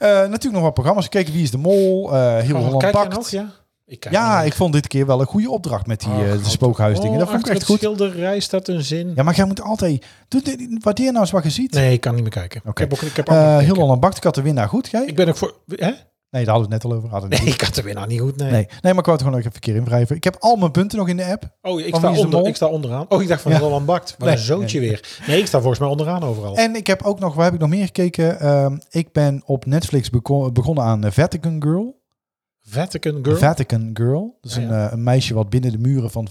[SPEAKER 3] natuurlijk nog wat programma's gekeken. Wie is de mol? eh Heel
[SPEAKER 2] Oh,
[SPEAKER 3] Holland
[SPEAKER 2] kijk jij
[SPEAKER 3] Pakt.
[SPEAKER 2] nog? Ja, ik, kijk
[SPEAKER 3] Ja,
[SPEAKER 2] nog.
[SPEAKER 3] ik vond dit keer wel een goede opdracht met die
[SPEAKER 2] Oh,
[SPEAKER 3] eh, de
[SPEAKER 2] God. Oh,
[SPEAKER 3] spookhuisdingen. dat vond ik
[SPEAKER 2] achter
[SPEAKER 3] echt
[SPEAKER 2] het
[SPEAKER 3] goed.
[SPEAKER 2] schilderij staat een zin.
[SPEAKER 3] Ja, maar jij moet altijd... Doe dit, waardeer nou eens wat je ziet.
[SPEAKER 2] Nee, ik kan niet meer kijken.
[SPEAKER 3] Oké.
[SPEAKER 2] Ik heb ook, ik heb ook
[SPEAKER 3] Eh
[SPEAKER 2] niet
[SPEAKER 3] heel
[SPEAKER 2] gekeken.
[SPEAKER 3] Holland Bakt, ik had de winnaar goed. Jij?
[SPEAKER 2] Ik ben ook voor... Hè?
[SPEAKER 3] Nee, daar hadden we het net al over. Hadden we
[SPEAKER 2] Nee,
[SPEAKER 3] het niet.
[SPEAKER 2] ik had de winnaar niet goed. Nee.
[SPEAKER 3] Nee. nee, maar ik wou het gewoon nog even keer invrijven. Ik heb al mijn punten nog in de app.
[SPEAKER 2] Oh, ik
[SPEAKER 3] Van
[SPEAKER 2] sta,
[SPEAKER 3] Wie is de
[SPEAKER 2] onder,
[SPEAKER 3] Mol?
[SPEAKER 2] ik sta onderaan. Oh, ik dacht van
[SPEAKER 3] Ja.
[SPEAKER 2] Roland Bakt. Maar
[SPEAKER 3] Nee. Eh.
[SPEAKER 2] een zoontje weer. Nee, ik sta volgens mij onderaan overal.
[SPEAKER 3] En ik heb ook nog, waar heb ik nog meer gekeken? Ehm, ik ben op Netflix beko- begonnen aan eh, Vatican Girl.
[SPEAKER 2] Vatican Girl.
[SPEAKER 3] Vatican Girl. Dat is
[SPEAKER 2] Ja,
[SPEAKER 3] een,
[SPEAKER 2] ja.
[SPEAKER 3] eh, een meisje wat binnen de muren van het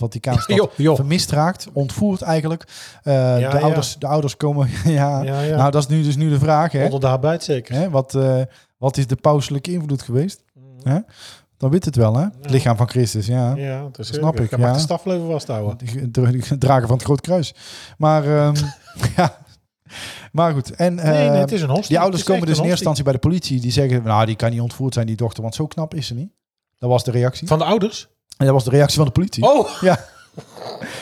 [SPEAKER 3] Vaticaanstad
[SPEAKER 2] joh, joh.
[SPEAKER 3] vermist raakt. Ontvoerd eigenlijk. Eh,
[SPEAKER 2] ja.
[SPEAKER 3] de, ouders, de ouders komen... ja.
[SPEAKER 2] Ja, ja.
[SPEAKER 3] Nou, dat is nu dus nu de vraag. Hè?
[SPEAKER 2] Onder de habit zeker.
[SPEAKER 3] Hè, Wat, eh, wat is de pauselijke invloed geweest?
[SPEAKER 2] Mm,
[SPEAKER 3] Hè? Dan weet het wel, hè? Het lichaam van Christus, ja.
[SPEAKER 2] Ja, dat is
[SPEAKER 3] snap ik,
[SPEAKER 2] Je mag
[SPEAKER 3] ja. Eh,
[SPEAKER 2] de stafleven vasthouden.
[SPEAKER 3] De- de- de drager van het Groot Kruis. Maar, ehm, ja. maar goed. En,
[SPEAKER 2] Nee, nee,
[SPEAKER 3] ehm,
[SPEAKER 2] het is een hostie.
[SPEAKER 3] Die ouders
[SPEAKER 2] Het is
[SPEAKER 3] komen dus in
[SPEAKER 2] echt een hostie.
[SPEAKER 3] eerste instantie bij de politie. Die zeggen, nou, die kan niet ontvoerd zijn, die dochter, want zo knap is ze niet. Dat was de reactie.
[SPEAKER 2] Van de ouders?
[SPEAKER 3] En dat was de reactie van de politie.
[SPEAKER 2] Oh!
[SPEAKER 3] Ja.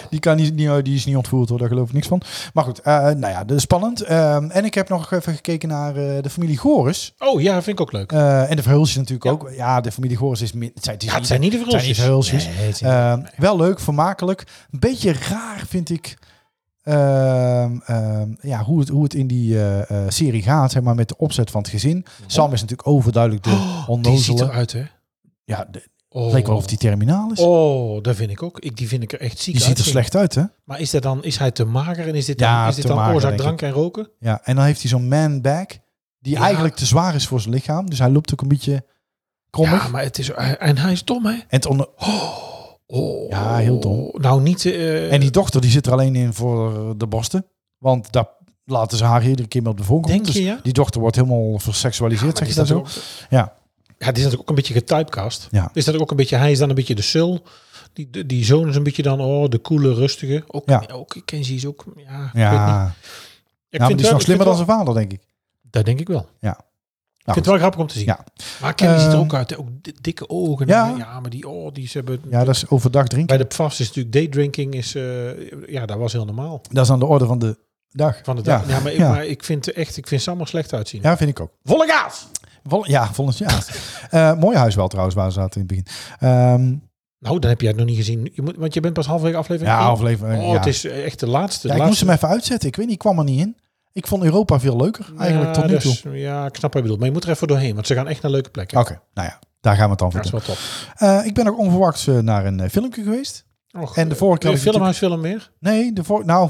[SPEAKER 3] Die, kan niet, eh, die, die is niet ontvoerd hoor, daar geloof ik niks van. Maar goed, eh, nou ja, dus spannend. Ehm, en ik heb nog even gekeken naar eh, de familie Goris.
[SPEAKER 2] Oh, ja, vind ik ook leuk.
[SPEAKER 3] Eh, en de Verhulsjes natuurlijk
[SPEAKER 2] Ja.
[SPEAKER 3] ook. Ja, de familie Goris is... min- Het zijn, het is
[SPEAKER 2] Ja, het
[SPEAKER 3] niet-
[SPEAKER 2] zijn niet de
[SPEAKER 3] het zijn niet
[SPEAKER 2] verhulsjes.
[SPEAKER 3] Verhulsjes. Eh,
[SPEAKER 2] Nee, het is niet-
[SPEAKER 3] Ehm, wel leuk, vermakelijk. Een beetje raar vind ik ehm, ehm, ja, hoe, het, hoe het in die eh, eh, serie gaat, zeg maar, met de opzet van het gezin. Sam is natuurlijk overduidelijk de
[SPEAKER 2] Oh, Die ziet
[SPEAKER 3] onnozele.
[SPEAKER 2] eruit, hè?
[SPEAKER 3] Ja, de,
[SPEAKER 2] Oh.
[SPEAKER 3] het leek wel of die terminaal is.
[SPEAKER 2] Oh, dat vind ik ook. Ik, die vind ik er echt ziek
[SPEAKER 3] Die ziet er
[SPEAKER 2] uitzien.
[SPEAKER 3] slecht uit, hè?
[SPEAKER 2] Maar is, dat dan, is hij te mager en is dit
[SPEAKER 3] Ja,
[SPEAKER 2] dan, is dit
[SPEAKER 3] te
[SPEAKER 2] dan
[SPEAKER 3] mager,
[SPEAKER 2] oorzaak
[SPEAKER 3] denk
[SPEAKER 2] drank en roken?
[SPEAKER 3] Ja, en dan heeft hij zo'n man bag die
[SPEAKER 2] Ja.
[SPEAKER 3] eigenlijk te zwaar is voor zijn lichaam. Dus hij loopt ook een beetje krommig.
[SPEAKER 2] Ja, maar het is... En hij is dom, hè?
[SPEAKER 3] En, het onder-
[SPEAKER 2] Oh.
[SPEAKER 3] Ja, heel dom.
[SPEAKER 2] Nou, niet... eh,
[SPEAKER 3] en die dochter die zit er alleen in voor de borsten. Want daar laten ze haar iedere keer mee op de voorgrond.
[SPEAKER 2] Denk je,
[SPEAKER 3] Dus
[SPEAKER 2] ja?
[SPEAKER 3] die dochter wordt helemaal
[SPEAKER 2] Ja, maar
[SPEAKER 3] verseksualiseerd, zeg
[SPEAKER 2] is
[SPEAKER 3] je dat zo?
[SPEAKER 2] ook-
[SPEAKER 3] Ja.
[SPEAKER 2] Ja, het is natuurlijk ook een beetje getypecast.
[SPEAKER 3] Ja.
[SPEAKER 2] Is dat ook een beetje... Hij is dan een beetje de sul. Die, die, die zoon is een beetje dan... Oh, de coole, rustige. Ook,
[SPEAKER 3] Ja.
[SPEAKER 2] ook ik ken ze is ook... Ja, ik
[SPEAKER 3] Ja,
[SPEAKER 2] weet niet.
[SPEAKER 3] ja
[SPEAKER 2] Ik vind
[SPEAKER 3] maar die is
[SPEAKER 2] wel-
[SPEAKER 3] nog
[SPEAKER 2] ik
[SPEAKER 3] slimmer dan
[SPEAKER 2] vind wel-
[SPEAKER 3] zijn vader, denk ik.
[SPEAKER 2] Dat denk ik wel.
[SPEAKER 3] Nou,
[SPEAKER 2] ik vind het wel grappig om te zien.
[SPEAKER 3] Ja.
[SPEAKER 2] Maar Kenny ziet er
[SPEAKER 3] Ehm,
[SPEAKER 2] ook uit. hè. Ook di- dikke ogen.
[SPEAKER 3] Ja.
[SPEAKER 2] En, ja, maar die, oh, die ze hebben...
[SPEAKER 3] goed. ja, dat is overdag drinken.
[SPEAKER 2] Bij de PFAS is natuurlijk daydrinking. Is, eh, ja, dat was heel normaal.
[SPEAKER 3] Dat is aan de orde van de dag.
[SPEAKER 2] Van de
[SPEAKER 3] Ja.
[SPEAKER 2] dag. Ja, maar, ik,
[SPEAKER 3] Ja.
[SPEAKER 2] maar ik vind echt... Ik vind Sam er slecht uitzien.
[SPEAKER 3] Ja, vind ik ook.
[SPEAKER 2] Volle gaas!
[SPEAKER 3] Vol- ja, volgend jaar. Eh, mooi huis wel trouwens, waar ze zaten in het begin. Ehm,
[SPEAKER 2] Nou, dan heb jij het nog niet gezien. Je moet, want je bent pas halverwege aflevering
[SPEAKER 3] ja,
[SPEAKER 2] één.
[SPEAKER 3] aflevering.
[SPEAKER 2] Oh,
[SPEAKER 3] ja.
[SPEAKER 2] het is echt de laatste.
[SPEAKER 3] Ja, ik moest hem even uitzetten. Ik weet niet, ik kwam er niet in. Ik vond Europa veel leuker eigenlijk tot
[SPEAKER 2] dus-
[SPEAKER 3] nu toe.
[SPEAKER 2] ja, ik snap wat je bedoelt. Maar je moet er even doorheen, want ze gaan echt naar leuke plekken.
[SPEAKER 3] Oké, nou ja, daar gaan we het dan voor
[SPEAKER 2] Dat is
[SPEAKER 3] doen.
[SPEAKER 2] wel top.
[SPEAKER 3] Eh, ik ben ook onverwachts eh, naar een eh, filmpje geweest.
[SPEAKER 2] Och,
[SPEAKER 3] En de vorige keer
[SPEAKER 2] eh,
[SPEAKER 3] had ik
[SPEAKER 2] filmhuisfilm meer?
[SPEAKER 3] Nee, de, vor nou,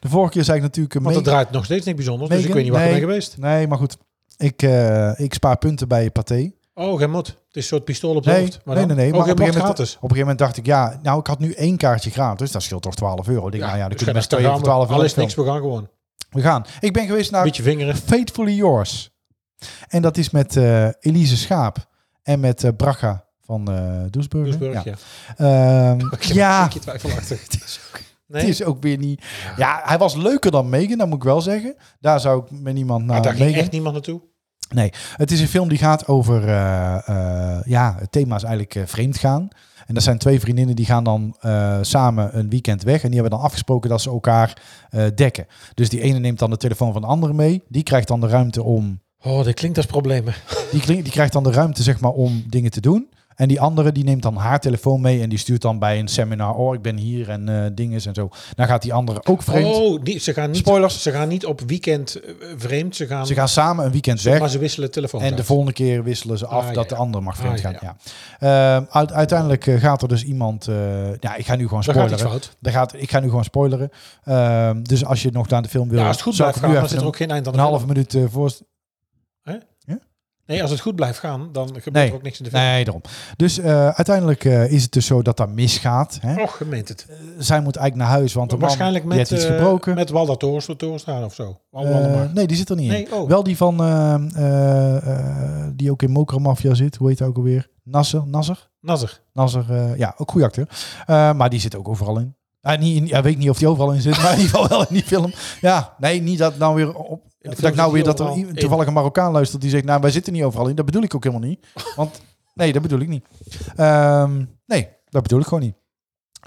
[SPEAKER 3] de vorige keer zei ik natuurlijk... een
[SPEAKER 2] Want er
[SPEAKER 3] Megan-
[SPEAKER 2] draait nog steeds niks bijzonders, dus ik
[SPEAKER 3] Megan?
[SPEAKER 2] weet niet waar
[SPEAKER 3] Nee.
[SPEAKER 2] ik ben geweest.
[SPEAKER 3] Nee, maar goed. Ik, eh, ik spaar punten bij Pathé.
[SPEAKER 2] Oh, geen mot. Het is een soort pistool op de
[SPEAKER 3] Nee,
[SPEAKER 2] hoofd. Maar
[SPEAKER 3] nee, nee.
[SPEAKER 2] dan-
[SPEAKER 3] nee.
[SPEAKER 2] Oh,
[SPEAKER 3] maar
[SPEAKER 2] geen
[SPEAKER 3] op een,
[SPEAKER 2] mot
[SPEAKER 3] gegeven moment, op
[SPEAKER 2] gratis.
[SPEAKER 3] een gegeven moment dacht ik, ja, nou, ik had nu één kaartje gratis. Dat scheelt toch 12 euro. Ik denk, nou ja, dan
[SPEAKER 2] dus ga
[SPEAKER 3] kunnen we
[SPEAKER 2] daar
[SPEAKER 3] twee voor
[SPEAKER 2] gaan we.
[SPEAKER 3] 12 euro
[SPEAKER 2] Al is
[SPEAKER 3] film.
[SPEAKER 2] niks, we gaan gewoon.
[SPEAKER 3] We gaan. Ik ben geweest naar
[SPEAKER 2] Beetje vingeren.
[SPEAKER 3] Faithfully Yours. En dat is met eh, Elise Schaap en met eh Braga van eh Doesburg.
[SPEAKER 2] Doesburg, ja.
[SPEAKER 3] ja. Ehm,
[SPEAKER 2] Ik heb
[SPEAKER 3] ja,
[SPEAKER 2] Een beetje twijfelachtig.
[SPEAKER 3] het
[SPEAKER 2] Nee,
[SPEAKER 3] is ook weer niet... Ja, hij was leuker dan Megan, dat moet ik wel zeggen. Daar zou ik met niemand naar
[SPEAKER 2] maar Ah, daar ging
[SPEAKER 3] nou, Megan-
[SPEAKER 2] echt niemand naartoe.
[SPEAKER 3] Het is een film die gaat over... eh, eh, ja, het thema is eigenlijk eh, vreemd gaan. En dat zijn twee vriendinnen die gaan dan eh, samen een weekend weg. En die hebben dan afgesproken dat ze elkaar eh, dekken. Dus die ene neemt dan de telefoon van de andere mee. Die krijgt dan de ruimte om
[SPEAKER 2] Oh, dit klinkt als problemen.
[SPEAKER 3] Die, klink- die krijgt dan de ruimte zeg maar, om dingen te doen. En die andere die neemt dan haar telefoon mee en die stuurt dan bij een seminar. Oh, ik ben hier en eh dinges en zo. Dan gaat die andere ook vreemd.
[SPEAKER 2] Oh, die, ze, gaan niet,
[SPEAKER 3] Spoilers.
[SPEAKER 2] ze gaan niet op weekend eh, vreemd. Ze gaan,
[SPEAKER 3] Ze gaan samen een weekend
[SPEAKER 2] maar
[SPEAKER 3] weg.
[SPEAKER 2] ze wisselen telefoons.
[SPEAKER 3] En de
[SPEAKER 2] uit.
[SPEAKER 3] volgende keer wisselen ze af
[SPEAKER 2] Ah, ja,
[SPEAKER 3] dat de
[SPEAKER 2] ja.
[SPEAKER 3] andere mag vreemd
[SPEAKER 2] Ah, ja,
[SPEAKER 3] gaan. Ja. Ehm, uit- uiteindelijk eh, gaat er dus iemand... eh, ja, ik ga nu gewoon
[SPEAKER 2] Daar gaat iets
[SPEAKER 3] spoileren.
[SPEAKER 2] fout.
[SPEAKER 3] Daar gaat, ik ga nu gewoon spoileren. Ehm, dus als je nog naar de film wil...
[SPEAKER 2] Ja, als het goed
[SPEAKER 3] zou
[SPEAKER 2] blijft
[SPEAKER 3] ik
[SPEAKER 2] gaan,
[SPEAKER 3] nu
[SPEAKER 2] dan
[SPEAKER 3] even
[SPEAKER 2] zit er
[SPEAKER 3] een-
[SPEAKER 2] ook geen eind aan
[SPEAKER 3] Een
[SPEAKER 2] de
[SPEAKER 3] half
[SPEAKER 2] film.
[SPEAKER 3] minuut eh, voor,
[SPEAKER 2] Nee, als het goed blijft gaan, dan gebeurt
[SPEAKER 3] Nee.
[SPEAKER 2] er ook niks in de film.
[SPEAKER 3] Nee, daarom. Dus eh, uiteindelijk eh, is het dus zo dat dat misgaat. Hè?
[SPEAKER 2] Och, je meent het.
[SPEAKER 3] zij moet eigenlijk naar huis, want de man
[SPEAKER 2] Waarschijnlijk
[SPEAKER 3] die
[SPEAKER 2] met,
[SPEAKER 3] heeft iets
[SPEAKER 2] eh,
[SPEAKER 3] gebroken.
[SPEAKER 2] met Walda Torens, Torenstra of zo. Wal-
[SPEAKER 3] Eh,
[SPEAKER 2] Waldemar.
[SPEAKER 3] nee, die zit er niet in.
[SPEAKER 2] Nee, oh.
[SPEAKER 3] Wel die van, eh, eh, eh, die ook in Mokra Mafia zit. Hoe heet hij ook alweer? Nasser? Nasser?
[SPEAKER 2] Nazzer.
[SPEAKER 3] Nasser, eh, ja, ook goede acteur. Eh, maar die zit ook overal in. Hij niet, in- ja, weet ik niet of die overal in zit, maar in ieder geval wel in die film. Ja, nee, niet dat nou weer op...
[SPEAKER 2] In de
[SPEAKER 3] Dat
[SPEAKER 2] film
[SPEAKER 3] ik nou
[SPEAKER 2] zit hij
[SPEAKER 3] weer dat er
[SPEAKER 2] overal
[SPEAKER 3] i- toevallig een Marokkaan luistert die zegt, nou, wij zitten niet overal in. Dat bedoel ik ook helemaal niet. Want, nee, dat bedoel ik niet. Ehm, nee, dat bedoel ik gewoon niet.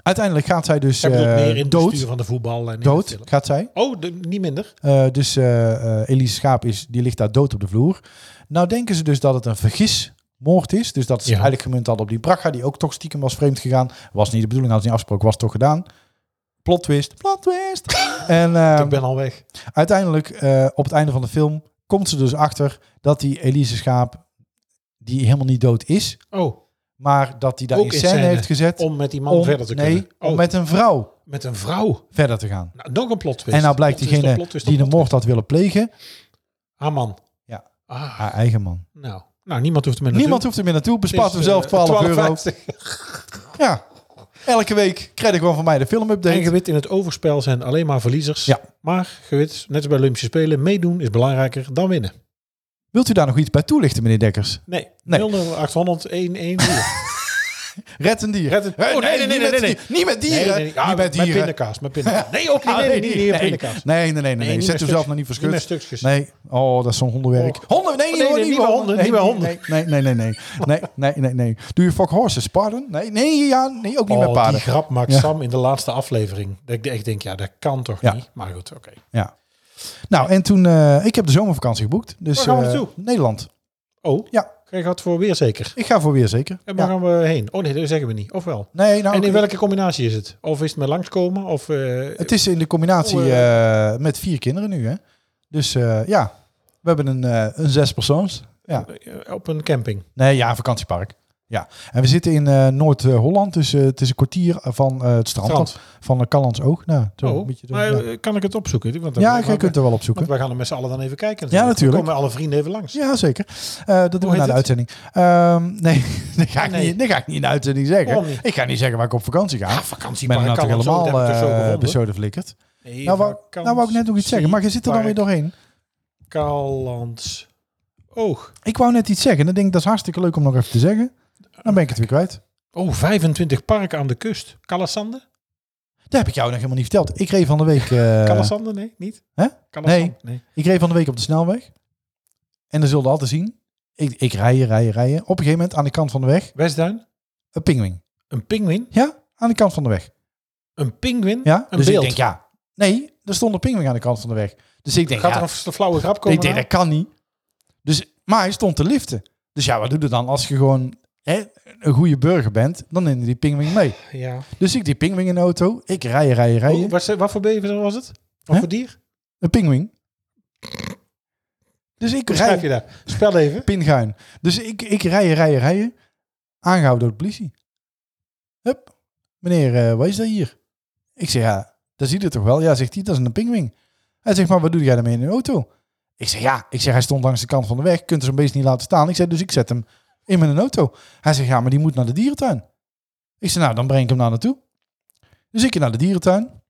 [SPEAKER 3] Uiteindelijk gaat zij dus
[SPEAKER 2] Zij bedoelt
[SPEAKER 3] eh,
[SPEAKER 2] meer in het
[SPEAKER 3] dood.
[SPEAKER 2] bestuur van de voetbal. En in de
[SPEAKER 3] Dood
[SPEAKER 2] film.
[SPEAKER 3] gaat zij.
[SPEAKER 2] Oh, de- niet minder.
[SPEAKER 3] Eh, dus eh, eh, Elise Schaap is, die ligt daar dood op de vloer. Nou denken ze dus dat het een vergismoord is. Dus dat is
[SPEAKER 2] Ja.
[SPEAKER 3] eigenlijk gemunt hadden op die Braga, die ook toch stiekem was vreemd gegaan. Was niet de bedoeling, had ze niet afgesproken, was toch gedaan. Plot twist, plot twist. en eh,
[SPEAKER 2] ik ben al weg.
[SPEAKER 3] uiteindelijk, eh, op het einde van de film, komt ze dus achter dat die Elise Schaap, die helemaal niet dood is,
[SPEAKER 2] Oh,
[SPEAKER 3] maar dat die daar
[SPEAKER 2] Ook
[SPEAKER 3] in
[SPEAKER 2] in
[SPEAKER 3] scène
[SPEAKER 2] scène.
[SPEAKER 3] heeft gezet
[SPEAKER 2] om met die man
[SPEAKER 3] om-
[SPEAKER 2] verder te
[SPEAKER 3] nee,
[SPEAKER 2] kunnen. Oh,
[SPEAKER 3] om
[SPEAKER 2] met,
[SPEAKER 3] met een vrouw
[SPEAKER 2] een vrouw.
[SPEAKER 3] verder te gaan.
[SPEAKER 2] Nou, nog een plot twist.
[SPEAKER 3] En nou blijkt
[SPEAKER 2] Plot twist op
[SPEAKER 3] diegene
[SPEAKER 2] plot twist op
[SPEAKER 3] die de
[SPEAKER 2] plot twist.
[SPEAKER 3] moord had willen plegen,
[SPEAKER 2] Haar man.
[SPEAKER 3] Ja.
[SPEAKER 2] Ah,
[SPEAKER 3] haar eigen man.
[SPEAKER 2] nou. nou, niemand hoeft hem in
[SPEAKER 3] Niemand hoeft er meer naartoe. Bespaart hem
[SPEAKER 2] eh,
[SPEAKER 3] zelf 12, euro. Ja. Elke week krijg ik gewoon van mij de
[SPEAKER 2] En
[SPEAKER 3] filmupdate.
[SPEAKER 2] gewit in het overspel zijn alleen maar verliezers.
[SPEAKER 3] Ja.
[SPEAKER 2] Maar gewit, net als bij Olympische Spelen, meedoen is belangrijker dan winnen.
[SPEAKER 3] Wilt u daar nog iets bij toelichten, meneer Dekkers?
[SPEAKER 2] Nee,
[SPEAKER 3] Nee.
[SPEAKER 2] 0 800 114
[SPEAKER 3] Red een dier.
[SPEAKER 2] Red een-
[SPEAKER 3] Eh,
[SPEAKER 2] Oh, nee, nee, nee,
[SPEAKER 3] niet
[SPEAKER 2] nee,
[SPEAKER 3] met
[SPEAKER 2] nee.
[SPEAKER 3] dieren. Niet met dieren.
[SPEAKER 2] Ja,
[SPEAKER 3] niet met
[SPEAKER 2] Met
[SPEAKER 3] dieren.
[SPEAKER 2] pindakaas, met pindakaas. Nee, ook niet.
[SPEAKER 3] Ah,
[SPEAKER 2] Nee, nee, nee, nee,
[SPEAKER 3] nee, nee,
[SPEAKER 2] pindakaas.
[SPEAKER 3] nee, nee, nee, nee.
[SPEAKER 2] niet
[SPEAKER 3] Zet
[SPEAKER 2] met
[SPEAKER 3] u zelf
[SPEAKER 2] stuk-
[SPEAKER 3] nog niet voor
[SPEAKER 2] Niet met
[SPEAKER 3] schut.
[SPEAKER 2] stukjes.
[SPEAKER 3] Nee, oh, dat is zo'n hondenwerk.
[SPEAKER 2] Oh.
[SPEAKER 3] Honden, nee,
[SPEAKER 2] Oh, nee,
[SPEAKER 3] hoor,
[SPEAKER 2] nee, niet
[SPEAKER 3] niet bij
[SPEAKER 2] bij
[SPEAKER 3] honden.
[SPEAKER 2] honden, niet bij
[SPEAKER 3] Nee,
[SPEAKER 2] honden.
[SPEAKER 3] Nee, nee, nee, nee, nee, nee, nee, nee. Doe je fuck horses, pardon? Nee, nee, ja, nee, ook niet met
[SPEAKER 2] Oh,
[SPEAKER 3] paarden.
[SPEAKER 2] die grap maakt
[SPEAKER 3] Ja.
[SPEAKER 2] Sam in de laatste aflevering. Dat ik echt denk, ja, dat kan toch
[SPEAKER 3] Ja.
[SPEAKER 2] niet. Maar goed, oké.
[SPEAKER 3] Ja. Nou, en toen, eh, ik heb de zomervakantie geboekt. Dus
[SPEAKER 2] Waar gaan we
[SPEAKER 3] eh,
[SPEAKER 2] naartoe?
[SPEAKER 3] Nederland.
[SPEAKER 2] Oh,
[SPEAKER 3] Ja.
[SPEAKER 2] Krijg je het voor weer zeker.
[SPEAKER 3] Ik ga voor weer zeker.
[SPEAKER 2] En waar
[SPEAKER 3] Ja.
[SPEAKER 2] gaan we heen? Oh nee, dat zeggen we niet. Of wel?
[SPEAKER 3] Nee, nou,
[SPEAKER 2] en in
[SPEAKER 3] ik-
[SPEAKER 2] welke combinatie is het? Of is het met langskomen? Of, eh,
[SPEAKER 3] Het is in de combinatie
[SPEAKER 2] Oh,
[SPEAKER 3] eh, met vier kinderen nu, hè? Dus eh, ja, we hebben een, eh een zespersoons. Ja.
[SPEAKER 2] Eh, Op een camping.
[SPEAKER 3] Nee, ja, een vakantiepark. Ja, en we zitten in eh, Noord-Holland, dus eh, het is een kwartier van eh, het strand,
[SPEAKER 2] Strand.
[SPEAKER 3] af, van uh, Callans Oog. Nou, zo
[SPEAKER 2] Oh,
[SPEAKER 3] een beetje zo,
[SPEAKER 2] maar
[SPEAKER 3] ja.
[SPEAKER 2] eh, kan ik het opzoeken? Want dan-
[SPEAKER 3] ja,
[SPEAKER 2] want-
[SPEAKER 3] je kunt er wel op zoeken.
[SPEAKER 2] want wij gaan er met z'n allen dan even kijken.
[SPEAKER 3] natuurlijk.
[SPEAKER 2] Dan komen alle vrienden even langs.
[SPEAKER 3] Ja, zeker. Eh, dat doen
[SPEAKER 2] heet
[SPEAKER 3] we na de
[SPEAKER 2] het?
[SPEAKER 3] uitzending. Ehm, nee, dat ga, ik
[SPEAKER 2] Nee.
[SPEAKER 3] Niet, dat ga ik niet in de uitzending zeggen.
[SPEAKER 2] Waarom niet?
[SPEAKER 3] Ik ga niet zeggen waar ik op vakantie ga.
[SPEAKER 2] Ja,
[SPEAKER 3] ik ben
[SPEAKER 2] vakantiepark
[SPEAKER 3] er
[SPEAKER 2] kan
[SPEAKER 3] natuurlijk
[SPEAKER 2] het zo, dat
[SPEAKER 3] helemaal
[SPEAKER 2] heb ik er zo
[SPEAKER 3] eh,
[SPEAKER 2] gevonden.
[SPEAKER 3] episode flikkerd.
[SPEAKER 2] Nee,
[SPEAKER 3] Nou wou, nou wou ik net nog iets zeggen, maar je zit er dan weer doorheen.
[SPEAKER 2] Kallands Oog.
[SPEAKER 3] Ik wou net iets zeggen. Dan denk ik, dat is hartstikke leuk om nog even te zeggen. Dan ben ik het weer kwijt.
[SPEAKER 2] Oh, 25 parken aan de kust. Kalasande?
[SPEAKER 3] Dat heb ik jou nog helemaal niet verteld. Ik reed van de week, eh
[SPEAKER 2] Kalasande? Nee, niet?
[SPEAKER 3] Hè?
[SPEAKER 2] Kalasande? Nee.
[SPEAKER 3] ik reed van de week op de snelweg. En dan zullen altijd zien. Ik, ik rijden, rijden, rijden. Op een gegeven moment aan de kant van de weg,
[SPEAKER 2] Westduin?
[SPEAKER 3] een pinguïn.
[SPEAKER 2] Een pinguïn?
[SPEAKER 3] Ja, aan de kant van de weg.
[SPEAKER 2] Een pinguïn?
[SPEAKER 3] Ja,
[SPEAKER 2] Een
[SPEAKER 3] dus
[SPEAKER 2] beeld.
[SPEAKER 3] ik denk, ja. Nee, er stond een pinguïn aan de kant van de weg. Dus ik denk,
[SPEAKER 2] Gaat er
[SPEAKER 3] ja,
[SPEAKER 2] een flauwe grap komen?
[SPEAKER 3] ik denk,
[SPEAKER 2] nou?
[SPEAKER 3] dat kan niet. Dus, maar hij stond te liften. Dus ja, wat doe je dan als je gewoon hè, een goede burger bent? Dan neem je die pinguïn mee.
[SPEAKER 2] Ja.
[SPEAKER 3] Dus ik die pinguïn in de auto. Ik rijden, rijden, rijden.
[SPEAKER 2] Oh, wat, ze- wat voor bever was het? Wat
[SPEAKER 3] Hè?
[SPEAKER 2] voor dier?
[SPEAKER 3] Een pinguïn. Dus ik
[SPEAKER 2] Hoe schrijf je
[SPEAKER 3] rij
[SPEAKER 2] daar? Spel even.
[SPEAKER 3] pinguïn. Dus ik, ik rij, rij, rij. Aangehouden door de politie. Hup. Meneer, eh, wat is dat hier? Ik zeg, ja, dat ziet het toch wel? Ja, zegt hij, dat is een pinguïn. Hij zegt, maar wat doe jij daarmee in de auto? Ik zeg, ja. Ik zeg, hij stond langs de kant van de weg. Kunt er zo'n beest niet laten staan. Ik zeg, dus ik zet hem in mijn auto. Hij zegt, ja, maar die moet naar de dierentuin. Ik zeg, nou, dan breng ik hem daar naartoe. Dus ik naar de dierentuin.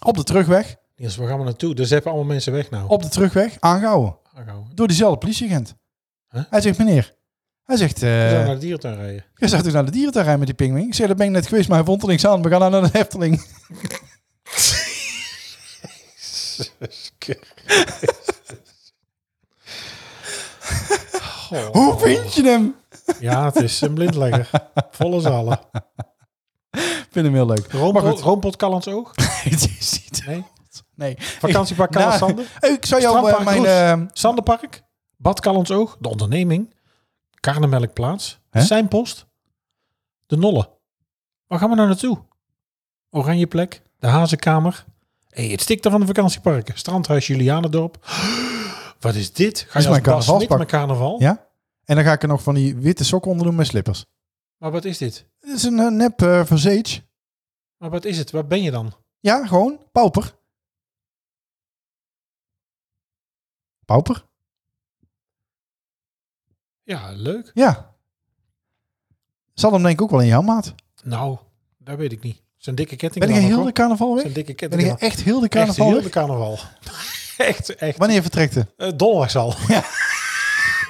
[SPEAKER 3] Op de terugweg.
[SPEAKER 2] Niels, waar gaan we naartoe? Dus hebben allemaal mensen weg nou.
[SPEAKER 3] Op de terugweg. Aangehouden.
[SPEAKER 2] Ah, gauw.
[SPEAKER 3] door diezelfde politieagent.
[SPEAKER 2] Huh?
[SPEAKER 3] Hij zegt, meneer. Hij zegt,
[SPEAKER 2] We
[SPEAKER 3] eh
[SPEAKER 2] zouden naar de dierentuin rijden.
[SPEAKER 3] je zou toch naar de dierentuin rijden met die pingwing? Ik zeg, dat ben ik net geweest, maar hij vond er niks aan. We gaan naar de Hefteling.
[SPEAKER 2] Oh.
[SPEAKER 3] Hoe vind je hem?
[SPEAKER 2] Ja, het is een blindlegger. Volle zalen.
[SPEAKER 3] Ik vind hem heel leuk. Maar
[SPEAKER 2] Roompot,
[SPEAKER 3] goed.
[SPEAKER 2] roompot Callans Oog?
[SPEAKER 3] Het is niet-
[SPEAKER 2] Nee.
[SPEAKER 3] Nee.
[SPEAKER 2] Vakantiepark
[SPEAKER 3] Nou,
[SPEAKER 2] Callans Sander?
[SPEAKER 3] eh, Ik zou jou eh,
[SPEAKER 2] Strandpark
[SPEAKER 3] mijn... eh,
[SPEAKER 2] Sanderpark? Bad Callans Oog? De onderneming? Karnemelkplaats?
[SPEAKER 3] Hè?
[SPEAKER 2] Zijn post? De Nolle? Waar gaan we nou naartoe? Oranjeplek? De Hazenkamer? hey, het stikt er van de vakantieparken. Strandhuis Julianendorp. Wat is dit? Ga
[SPEAKER 3] is
[SPEAKER 2] je als Bas Smit
[SPEAKER 3] mijn carnavalspak.
[SPEAKER 2] met carnaval?
[SPEAKER 3] ja? En dan ga ik er nog van die witte sokken onder doen met slippers.
[SPEAKER 2] Maar wat is dit?
[SPEAKER 3] Het is een eh, nep eh verzage.
[SPEAKER 2] Maar wat is het? Waar ben je dan?
[SPEAKER 3] Ja, gewoon. Pauper. Pauper?
[SPEAKER 2] Ja, leuk.
[SPEAKER 3] Ja. Zal hem denk ik ook wel in jouw maat.
[SPEAKER 2] Nou, dat weet ik niet. Zijn dikke ketting.
[SPEAKER 3] Ben ik heel de carnaval weg?
[SPEAKER 2] Zijn dikke ketting.
[SPEAKER 3] Ben ik echt heel de
[SPEAKER 2] Echt
[SPEAKER 3] carnaval
[SPEAKER 2] heel
[SPEAKER 3] weg?
[SPEAKER 2] de carnaval. echt, echt.
[SPEAKER 3] Wanneer vertrekt het?
[SPEAKER 2] Eh, donderdag al.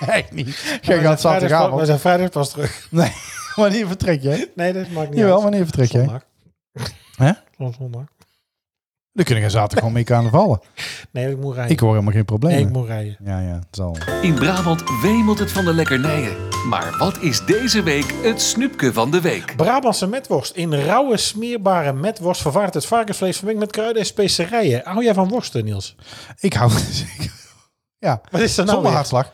[SPEAKER 3] Echt niet.
[SPEAKER 2] Wij
[SPEAKER 3] Jij gaat
[SPEAKER 2] zijn vrijdag- Wij
[SPEAKER 3] zaterdagavond.
[SPEAKER 2] zijn vrijdag pas terug.
[SPEAKER 3] Nee, wanneer vertrek jij?
[SPEAKER 2] Nee, dat maakt niet
[SPEAKER 3] Jawel,
[SPEAKER 2] uit.
[SPEAKER 3] wanneer vertrek jij?
[SPEAKER 2] Zondag.
[SPEAKER 3] Hè?
[SPEAKER 2] Van zondag.
[SPEAKER 3] Dan kunnen we zaterdag gewoon mee carnavallen.
[SPEAKER 2] Nee, ik moet rijden.
[SPEAKER 3] Ik hoor helemaal geen
[SPEAKER 2] nee, ik
[SPEAKER 3] problemen.
[SPEAKER 2] moet rijden.
[SPEAKER 3] Ja, ja, het zal.
[SPEAKER 1] In Brabant wemelt het van de lekkernijen. Maar wat is deze week het snoepje van de week?
[SPEAKER 2] Brabantse metworst. In rauwe, smeerbare metworst vervaart het varkensvlees vermengd met kruiden en specerijen. Hou jij van worsten, Niels?
[SPEAKER 3] Ik hou... ja,
[SPEAKER 2] Wat is er nou
[SPEAKER 3] zonder
[SPEAKER 2] weer?
[SPEAKER 3] hartslag.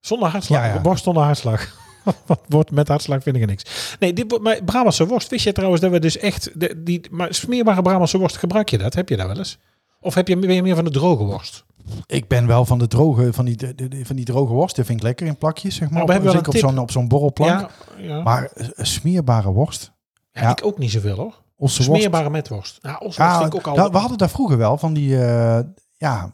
[SPEAKER 2] Zonder hartslag.
[SPEAKER 3] Ja, ja.
[SPEAKER 2] Worst zonder hartslag. Wat wordt met hartslag vind ik er niks. Nee, dit, wordt- maar Brabantse worst. Wist je trouwens dat we dus echt... De, die, maar smeerbare Brabantse worst, gebruik je dat? Heb je dat wel eens? Of heb je, ben je meer van de droge worst?
[SPEAKER 3] Ik ben wel van de droge, van die, de- de- van die droge worst. Dat vind ik lekker in plakjes, zeg maar.
[SPEAKER 2] Nou, we hebben wel een
[SPEAKER 3] Zeker op
[SPEAKER 2] tip.
[SPEAKER 3] zo'n op zo'n borrelplank.
[SPEAKER 2] Ja, ja.
[SPEAKER 3] Maar eh, smeerbare worst.
[SPEAKER 2] Ja,
[SPEAKER 3] ja.
[SPEAKER 2] ik ook niet zoveel hoor.
[SPEAKER 3] Onze worst.
[SPEAKER 2] Smeerbare met worst. Nou, ons
[SPEAKER 3] Ja,
[SPEAKER 2] vind ik ook al.
[SPEAKER 3] dat- we hadden daar vroeger wel van die, eh, ja,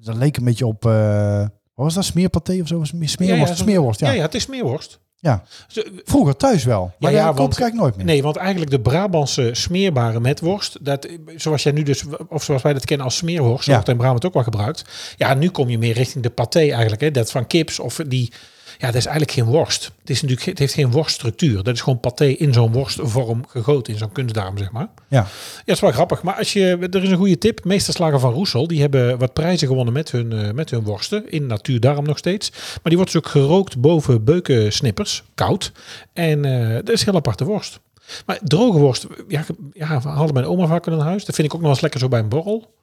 [SPEAKER 3] dat leek een beetje op, eh, wat was dat, smeerpaté of zo? Smeer- Smeerworst,
[SPEAKER 2] zo-
[SPEAKER 3] smeerworst, ja.
[SPEAKER 2] ja, ja, het is smeerworst.
[SPEAKER 3] Ja.
[SPEAKER 2] Zo,
[SPEAKER 3] Vroeger thuis wel, maar
[SPEAKER 2] ja,
[SPEAKER 3] ja, koop
[SPEAKER 2] want-
[SPEAKER 3] krijg ik nooit meer.
[SPEAKER 2] Nee, want eigenlijk de Brabantse smeerbare metworst, dat, zoals jij nu dus, of zoals wij dat kennen als smeerworst, zo
[SPEAKER 3] Ja.
[SPEAKER 2] wordt in Brabant ook wel gebruikt. Ja, nu kom je meer richting de paté eigenlijk, hè, dat van kips of die, ja, dat is eigenlijk geen worst. Het, is natuurlijk, het heeft geen worststructuur. Dat is gewoon paté in zo'n worstvorm gegoten, in zo'n kunstdarm, zeg maar.
[SPEAKER 3] Ja.
[SPEAKER 2] Ja, dat is wel grappig. Maar als je, er is een goede tip. Meesterslager van Roesel, die hebben wat prijzen gewonnen met hun, eh, met hun worsten. In Natuurdarm nog steeds. Maar die wordt dus ook gerookt boven beukensnippers. Koud. En eh, dat is een heel aparte worst. Maar droge worst, ja, ja, we hadden mijn oma vaak in huis. Dat vind ik ook nog eens lekker zo bij een borrel.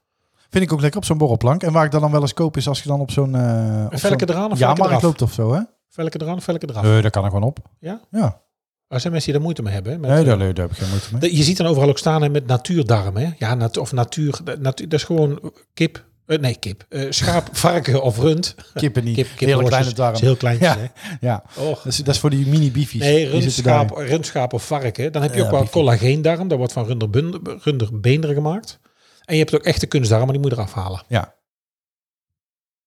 [SPEAKER 3] Vind ik ook lekker op zo'n borrelplank. En waar ik dat dan wel eens koop is als je dan op zo'n... eh op
[SPEAKER 2] velken
[SPEAKER 3] zo'n-
[SPEAKER 2] eraan of
[SPEAKER 3] Ja,
[SPEAKER 2] velken
[SPEAKER 3] maar
[SPEAKER 2] eraf?
[SPEAKER 3] het loopt of zo, hè?
[SPEAKER 2] Velken eraan, velken eraf.
[SPEAKER 3] Nee, daar kan ik gewoon op.
[SPEAKER 2] Ja?
[SPEAKER 3] Ja.
[SPEAKER 2] Er zijn mensen die daar moeite mee hebben. hè, Met, eh,
[SPEAKER 3] Nee, daar, daar heb ik geen moeite mee.
[SPEAKER 2] De- Je ziet dan overal ook staan hè, met natuurdarm. Hè? Ja, nat- of natuur, de- natuur. Dat is gewoon kip. eh, nee, kip. Eh, schaap, varken of rund.
[SPEAKER 3] Kippen niet.
[SPEAKER 2] Kip, kip
[SPEAKER 3] Hele kleine darm.
[SPEAKER 2] Heel kleintje.
[SPEAKER 3] Ja.
[SPEAKER 2] Hè?
[SPEAKER 3] Ja.
[SPEAKER 2] Och.
[SPEAKER 3] Dat is, dat is voor die mini beefies.
[SPEAKER 2] Nee,
[SPEAKER 3] Die zitten daarin.
[SPEAKER 2] rundschaap, rundschaap of varken. Dan heb je
[SPEAKER 3] Ja,
[SPEAKER 2] ook wel
[SPEAKER 3] biefie.
[SPEAKER 2] collageendarm. Dat wordt van runderbun- runderbeenderen gemaakt. En je hebt ook echte kunstdarm, maar die moet je eraf halen.
[SPEAKER 3] Ja.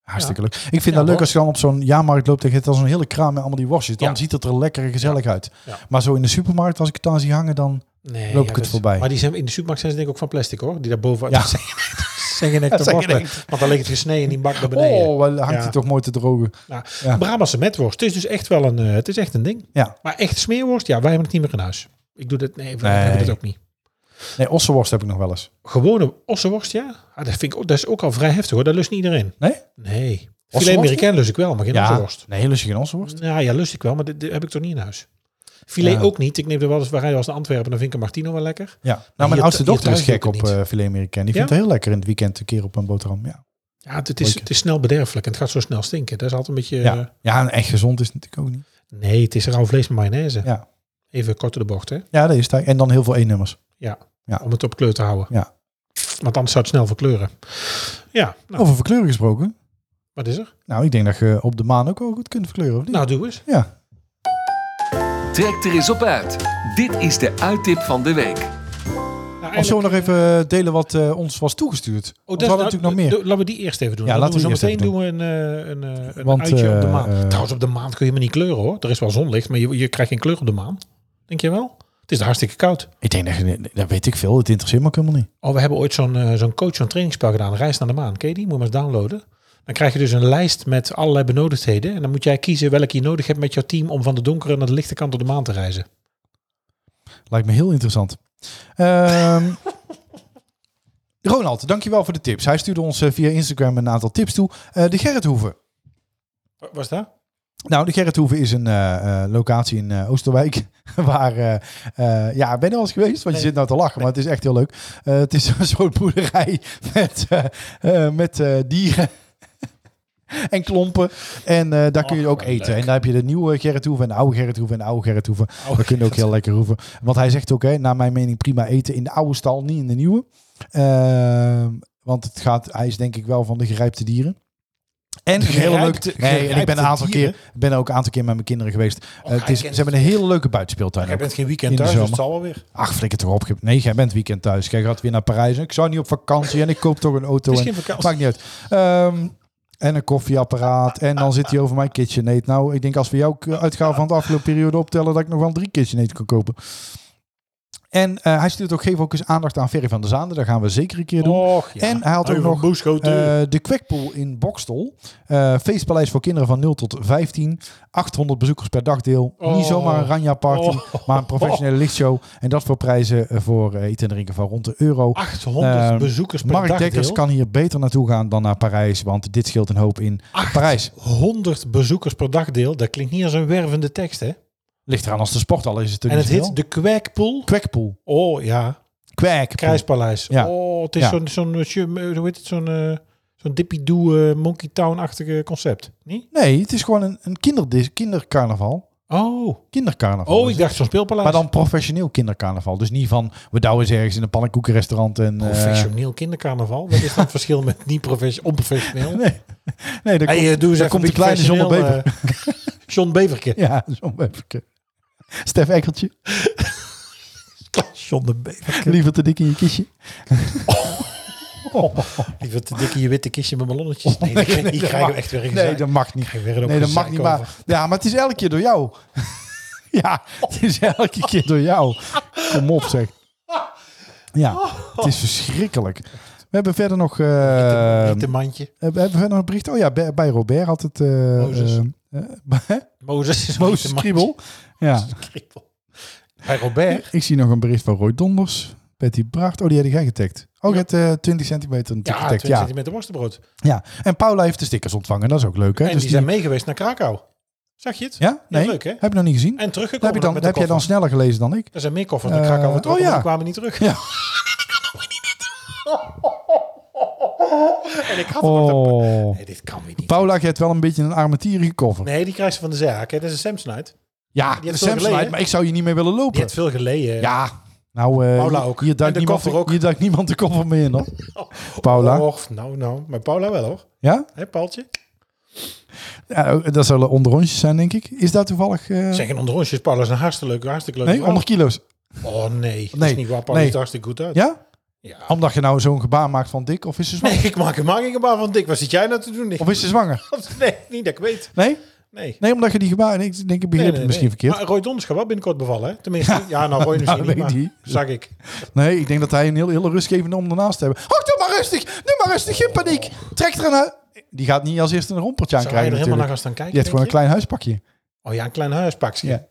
[SPEAKER 3] Hartstikke leuk. Ik vind
[SPEAKER 2] Ja,
[SPEAKER 3] dat leuk
[SPEAKER 2] hoor.
[SPEAKER 3] als je dan op zo'n jaarmarkt loopt en je hebt dan zo'n hele kraam met allemaal die worstjes. Dan
[SPEAKER 2] Ja.
[SPEAKER 3] ziet het er lekker en gezellig uit.
[SPEAKER 2] Ja.
[SPEAKER 3] Maar zo in de supermarkt, als ik het dan zie hangen, dan
[SPEAKER 2] Nee,
[SPEAKER 3] Loop ik het
[SPEAKER 2] dat-
[SPEAKER 3] voorbij.
[SPEAKER 2] Maar die zijn, in de supermarkt zijn ze denk ik ook van plastic hoor. Die daar boven.
[SPEAKER 3] Ja. Oh,
[SPEAKER 2] Ja. Zijn geen
[SPEAKER 3] Ja,
[SPEAKER 2] echte
[SPEAKER 3] zijn
[SPEAKER 2] worst
[SPEAKER 3] geen
[SPEAKER 2] meer. Want dan ligt het gesneden in die bak naar beneden.
[SPEAKER 3] oh, wel hangt
[SPEAKER 2] Ja.
[SPEAKER 3] hij toch mooi te drogen.
[SPEAKER 2] Nou,
[SPEAKER 3] Ja.
[SPEAKER 2] Brabantse metworst. Het is dus echt wel een, eh, het is echt een ding.
[SPEAKER 3] Ja.
[SPEAKER 2] Maar echt smeerworst, ja, wij hebben het niet meer in huis. Ik doe dat, nee, wij
[SPEAKER 3] Nee.
[SPEAKER 2] hebben het ook niet.
[SPEAKER 3] Nee, ossenworst heb ik nog wel eens.
[SPEAKER 2] Gewone ossenworst, ja. Ah, dat, vind ik, ook- dat is ook al vrij heftig hoor. Dat lust niet iedereen.
[SPEAKER 3] Nee?
[SPEAKER 2] Nee. Filet
[SPEAKER 3] Ossenworst
[SPEAKER 2] Amerikaan lust ik wel, maar geen ossenworst.
[SPEAKER 3] Nee, lust je geen ossenworst?
[SPEAKER 2] Ja, ja, lust ik wel, maar dit, dit heb ik toch niet in huis. Filet
[SPEAKER 3] Ja.
[SPEAKER 2] ook niet. Ik neem er wel eens, we rijden als naar Antwerpen, dan vind ik een Martino wel lekker.
[SPEAKER 3] Ja. Nou, mijn
[SPEAKER 2] hier
[SPEAKER 3] oudste
[SPEAKER 2] thu-
[SPEAKER 3] dochter
[SPEAKER 2] hier
[SPEAKER 3] is gek
[SPEAKER 2] thuis
[SPEAKER 3] op
[SPEAKER 2] doe ik het
[SPEAKER 3] eh filet americain. Die
[SPEAKER 2] Ja?
[SPEAKER 3] vindt het heel lekker in het weekend een keer op een boterham. Ja.
[SPEAKER 2] Ja, het, het is,
[SPEAKER 3] Leuk.
[SPEAKER 2] het is snel bederfelijk en het gaat zo snel stinken. Dat is altijd een beetje...
[SPEAKER 3] Ja.
[SPEAKER 2] eh,
[SPEAKER 3] ja, en echt gezond is het natuurlijk ook niet.
[SPEAKER 2] nee, het is rauw vlees met mayonaise.
[SPEAKER 3] Ja.
[SPEAKER 2] Even kort door de bocht, hè.
[SPEAKER 3] Ja, dat is het. En dan heel veel E-nummers. Ja.
[SPEAKER 2] Om het op kleur te houden.
[SPEAKER 3] Ja.
[SPEAKER 2] Want anders zou het snel verkleuren. Ja, nou,
[SPEAKER 3] Over verkleuren gesproken.
[SPEAKER 2] wat is er?
[SPEAKER 3] Nou, ik denk dat je op de maan ook wel goed kunt verkleuren, of niet?
[SPEAKER 2] Nou, doe eens.
[SPEAKER 3] Ja.
[SPEAKER 1] Trek er eens op uit. Dit is de uittip van de week.
[SPEAKER 2] Nou,
[SPEAKER 3] Of zullen we nog even delen wat eh, ons was
[SPEAKER 2] Oh,
[SPEAKER 3] toegestuurd? Want we hadden natuurlijk nog meer.
[SPEAKER 2] Laten we die eerst even doen.
[SPEAKER 3] Ja,
[SPEAKER 2] Ja, laten we zo
[SPEAKER 3] laten we
[SPEAKER 2] meteen
[SPEAKER 3] die
[SPEAKER 2] doen we een, eh, een, eh, een
[SPEAKER 3] Want,
[SPEAKER 2] uitje op de
[SPEAKER 3] eh,
[SPEAKER 2] maan.
[SPEAKER 3] eh,
[SPEAKER 2] Trouwens, op de maan kun je maar niet kleuren hoor. Er is wel zonlicht, maar je, je krijgt geen kleur op de maan. Denk je wel? Het is hartstikke koud.
[SPEAKER 3] Ik denk dat, je- dat weet ik veel. Het interesseert me ook helemaal niet.
[SPEAKER 2] Oh, we hebben ooit zo'n eh, zo'n coach, zo'n trainingsspel gedaan. Reis naar de maan. Ken je die? Moet je maar eens downloaden. Dan krijg je dus een lijst met allerlei benodigdheden. En dan moet jij kiezen welke je nodig hebt met jouw team om van de donkere naar de lichte kant op de maan te reizen.
[SPEAKER 3] Lijkt me heel interessant. Ehm Ronald, dankjewel voor de tips. Hij stuurde ons eh, via Instagram een aantal tips toe. Eh, de Gerrithoeven.
[SPEAKER 2] Wa- Was dat?
[SPEAKER 3] Nou, de Gerrithoeven is een eh, eh, locatie in eh, Oosterwijk. Waar, eh eh, ja, ben je al eens geweest? Want je
[SPEAKER 2] Nee.
[SPEAKER 3] zit nou te lachen, maar het is echt heel leuk. Eh, het is een soort boerderij met, eh, eh, met eh, dieren en klompen. En eh, daar kun je
[SPEAKER 2] Och,
[SPEAKER 3] ook
[SPEAKER 2] wat
[SPEAKER 3] eten.
[SPEAKER 2] leuk.
[SPEAKER 3] En daar heb je de nieuwe Gerrithoeven en de oude Gerrithoeven en de oude Gerrithoeven.
[SPEAKER 2] Oh,
[SPEAKER 3] We kunnen ook heel lekker hoeven. Want hij zegt ook, hè, naar mijn mening, prima eten in de oude stal, niet in de nieuwe. Ehm, want het gaat, hij is denk ik wel van de gerijpte dieren. En een hele
[SPEAKER 2] Gerijpte-
[SPEAKER 3] leuke. Nee, en ik ben
[SPEAKER 2] gerijpte
[SPEAKER 3] een aantal
[SPEAKER 2] dieren?
[SPEAKER 3] keer, ben ook een aantal keer met mijn kinderen geweest. Eh, het
[SPEAKER 2] hij
[SPEAKER 3] is, ze
[SPEAKER 2] kent-
[SPEAKER 3] hebben een hele leuke buitenspeeltuin.
[SPEAKER 2] Jij
[SPEAKER 3] ook.
[SPEAKER 2] bent geen weekend
[SPEAKER 3] in de
[SPEAKER 2] thuis, dus
[SPEAKER 3] zomer.
[SPEAKER 2] het zal wel weer.
[SPEAKER 3] Ach, flikker toch op. Nee, jij bent weekend thuis. Jij gaat weer naar Parijs. Ik zou niet op vakantie en ik koop toch een auto.
[SPEAKER 2] Het is
[SPEAKER 3] en-
[SPEAKER 2] geen vakantie.
[SPEAKER 3] Maakt niet uit. Ehm, en een koffieapparaat. En dan zit hij over mijn KitchenAid. Nou, ik denk als we jouw uitgaven van de afgelopen periode optellen... dat ik nog wel drie KitchenAid kan kopen. En eh, hij stuurt ook, geef ook eens aandacht aan Ferry van der Zaanden. Dat gaan we zeker een keer doen.
[SPEAKER 2] Och, ja.
[SPEAKER 3] En hij had ook
[SPEAKER 2] Hou je
[SPEAKER 3] nog
[SPEAKER 2] van boeschoten?
[SPEAKER 3] eh, de Kwekpool in Bokstel. Eh, feestpaleis voor kinderen van 0 tot 15. 800 bezoekers per dagdeel.
[SPEAKER 2] Oh.
[SPEAKER 3] Niet zomaar een Ranja party,
[SPEAKER 2] Oh.
[SPEAKER 3] maar een professionele lichtshow. En dat voor prijzen eh, voor eh, eten en drinken van rond de euro.
[SPEAKER 2] 800
[SPEAKER 3] Ehm,
[SPEAKER 2] bezoekers per
[SPEAKER 3] Mark
[SPEAKER 2] dag.
[SPEAKER 3] Dekkers
[SPEAKER 2] deel.
[SPEAKER 3] kan hier beter naartoe gaan dan naar Parijs, want dit scheelt een hoop in Parijs.
[SPEAKER 2] 100 bezoekers per dagdeel. Dat klinkt niet als een wervende tekst, hè?
[SPEAKER 3] Ligt eraan als de sport al is het er
[SPEAKER 2] En
[SPEAKER 3] niet
[SPEAKER 2] het
[SPEAKER 3] veel.
[SPEAKER 2] heet de Kwekpool.
[SPEAKER 3] Kwekpoel.
[SPEAKER 2] Oh ja,
[SPEAKER 3] Kwekpoel.
[SPEAKER 2] Krijspaleis.
[SPEAKER 3] Ja.
[SPEAKER 2] Oh, het is
[SPEAKER 3] Ja.
[SPEAKER 2] zo'n zo'n eh, chum- eh, hoe heet het zo'n eh, zo'n Dippy Doe eh, Monkey Town-achtige concept, niet?
[SPEAKER 3] Nee, het is gewoon een, een kinderdis, kindercarnaval.
[SPEAKER 2] Oh,
[SPEAKER 3] Kindercarnaval.
[SPEAKER 2] oh,
[SPEAKER 3] Dus-
[SPEAKER 2] ik dacht zo'n speelpaleis.
[SPEAKER 3] maar dan professioneel kindercarnaval. Dus niet van, we douwen eens ergens in een pannenkoekenrestaurant en... eh,
[SPEAKER 2] professioneel kindercarnaval. Wat is dan het verschil met niet profes- onprofessioneel?
[SPEAKER 3] Nee, nee, daar
[SPEAKER 2] Hey,
[SPEAKER 3] komt,
[SPEAKER 2] eh, doe eens even
[SPEAKER 3] daar komt
[SPEAKER 2] een
[SPEAKER 3] die kleine
[SPEAKER 2] beetje
[SPEAKER 3] John Bever.
[SPEAKER 2] professioneel, eh, John Beverke.
[SPEAKER 3] Ja, zo'n Beverke. Stef Ekkeltje,
[SPEAKER 2] John de Beverke.
[SPEAKER 3] liever te dik in je
[SPEAKER 2] Oh,
[SPEAKER 3] kistje.
[SPEAKER 2] Liever te dikke je witte kistje met ballonnetjes. Nee, die, die
[SPEAKER 3] Oh, dat
[SPEAKER 2] krijgen
[SPEAKER 3] mag-
[SPEAKER 2] we echt weer een
[SPEAKER 3] Nee,
[SPEAKER 2] gezeik.
[SPEAKER 3] dat mag niet.
[SPEAKER 2] Krijgen we weer ook
[SPEAKER 3] Nee,
[SPEAKER 2] een
[SPEAKER 3] dat mag
[SPEAKER 2] gezeik
[SPEAKER 3] niet. Maar,
[SPEAKER 2] over.
[SPEAKER 3] ja, maar het is elke keer door jou. ja, het is elke keer door jou. Kom op, zeg. Ja, het is verschrikkelijk. We hebben verder nog. eh,
[SPEAKER 2] Niet een mandje.
[SPEAKER 3] we hebben verder nog een bericht. Oh ja, bij, bij Robert had het. eh
[SPEAKER 2] Mozes.
[SPEAKER 3] eh, eh,
[SPEAKER 2] Mozes is
[SPEAKER 3] Mozes Kriebel. Ja,
[SPEAKER 2] Kriebel. Bij Robert.
[SPEAKER 3] ik zie nog een bericht van Roy Donders. Betty Bracht. Oh, die had jij getagd. Oh, je hebt eh, 20 centimeter natuurlijk
[SPEAKER 2] Ja,
[SPEAKER 3] getagd.
[SPEAKER 2] 20
[SPEAKER 3] Ja.
[SPEAKER 2] centimeter worstenbrood.
[SPEAKER 3] ja. En Paula heeft de stickers ontvangen. Dat is ook leuk, hè?
[SPEAKER 2] En
[SPEAKER 3] Dus
[SPEAKER 2] die zijn meegeweest naar Krakau. Zag je het?
[SPEAKER 3] Ja? Nee?
[SPEAKER 2] leuk, hè?
[SPEAKER 3] Heb je nog niet gezien?
[SPEAKER 2] En teruggekomen
[SPEAKER 3] Heb je dan,
[SPEAKER 2] met
[SPEAKER 3] heb jij dan sneller gelezen dan ik?
[SPEAKER 2] Er zijn meer koffers naar
[SPEAKER 3] Eh,
[SPEAKER 2] Krakau vertrokken,
[SPEAKER 3] oh ja.
[SPEAKER 2] maar die kwamen niet terug.
[SPEAKER 3] Ja.
[SPEAKER 2] En ik had hem ook dat-
[SPEAKER 3] Oh.
[SPEAKER 2] Nee, dit kan weer niet.
[SPEAKER 3] Paula, je hebt wel een beetje een armetierige koffer.
[SPEAKER 2] Nee, die krijgt ze van de zaak. Hè. Dat is een Samsonite.
[SPEAKER 3] Ja,
[SPEAKER 2] hebt
[SPEAKER 3] de
[SPEAKER 2] veel
[SPEAKER 3] Samsonite,
[SPEAKER 2] geleden.
[SPEAKER 3] maar ik zou je niet mee willen
[SPEAKER 2] Die
[SPEAKER 3] lopen.
[SPEAKER 2] heeft veel geleden.
[SPEAKER 3] Ja. Nou, eh,
[SPEAKER 2] Paula
[SPEAKER 3] hier-
[SPEAKER 2] ook.
[SPEAKER 3] Hier duikt,
[SPEAKER 2] En de
[SPEAKER 3] niemand de,
[SPEAKER 2] koffer ook. Oh.
[SPEAKER 3] hier duikt niemand de koffer mee in, hoor. Paula.
[SPEAKER 2] Och, nou, nou. Maar Paula wel, hoor.
[SPEAKER 3] Ja?
[SPEAKER 2] Hé, Paaltje?
[SPEAKER 3] ja? eh, Dat zullen onderrondjes zijn, denk ik. Is dat toevallig... eh,
[SPEAKER 2] Zeg geen onderhondjes. Paula is een hartstikke leuk, hartstikke leuk.
[SPEAKER 3] nee, onder kilo's.
[SPEAKER 2] Oh, nee. Dat
[SPEAKER 3] Nee,
[SPEAKER 2] is niet waar. Paula
[SPEAKER 3] nee.
[SPEAKER 2] ziet er hartstikke goed uit.
[SPEAKER 3] Ja?
[SPEAKER 2] Ja.
[SPEAKER 3] Omdat je nou zo'n gebaar maakt van dik, of is ze
[SPEAKER 2] Nee,
[SPEAKER 3] zwanger?
[SPEAKER 2] ik maak, ik maak een gebaar van dik. Wat zit jij nou te doen? Ik-
[SPEAKER 3] Of is ze zwanger?
[SPEAKER 2] Nee, niet dat ik weet.
[SPEAKER 3] Nee?
[SPEAKER 2] Nee.
[SPEAKER 3] Nee, omdat je die gebaar... nee, ik denk, ik begreep
[SPEAKER 2] Nee,
[SPEAKER 3] het
[SPEAKER 2] nee,
[SPEAKER 3] misschien
[SPEAKER 2] nee.
[SPEAKER 3] verkeerd.
[SPEAKER 2] Maar Roy Donders gaat wel binnenkort bevallen, hè? Tenminste, ja, nou Roy misschien
[SPEAKER 3] nou,
[SPEAKER 2] niet,
[SPEAKER 3] weet
[SPEAKER 2] maar
[SPEAKER 3] die.
[SPEAKER 2] zag ik.
[SPEAKER 3] Nee, ik denk dat hij een heel, heel rustgevende om daarnaast te hebben. Oh, doe maar rustig! Doe maar rustig, geen paniek! Trek er een... hu- Die gaat niet als eerste een rompertje aan
[SPEAKER 2] Zou hij er
[SPEAKER 3] krijgen
[SPEAKER 2] helemaal naar
[SPEAKER 3] natuurlijk.
[SPEAKER 2] gaan staan kijken,
[SPEAKER 3] Die heeft gewoon een
[SPEAKER 2] denk
[SPEAKER 3] klein huispakje.
[SPEAKER 2] je? Oh ja, een klein huispakje.
[SPEAKER 3] Ja.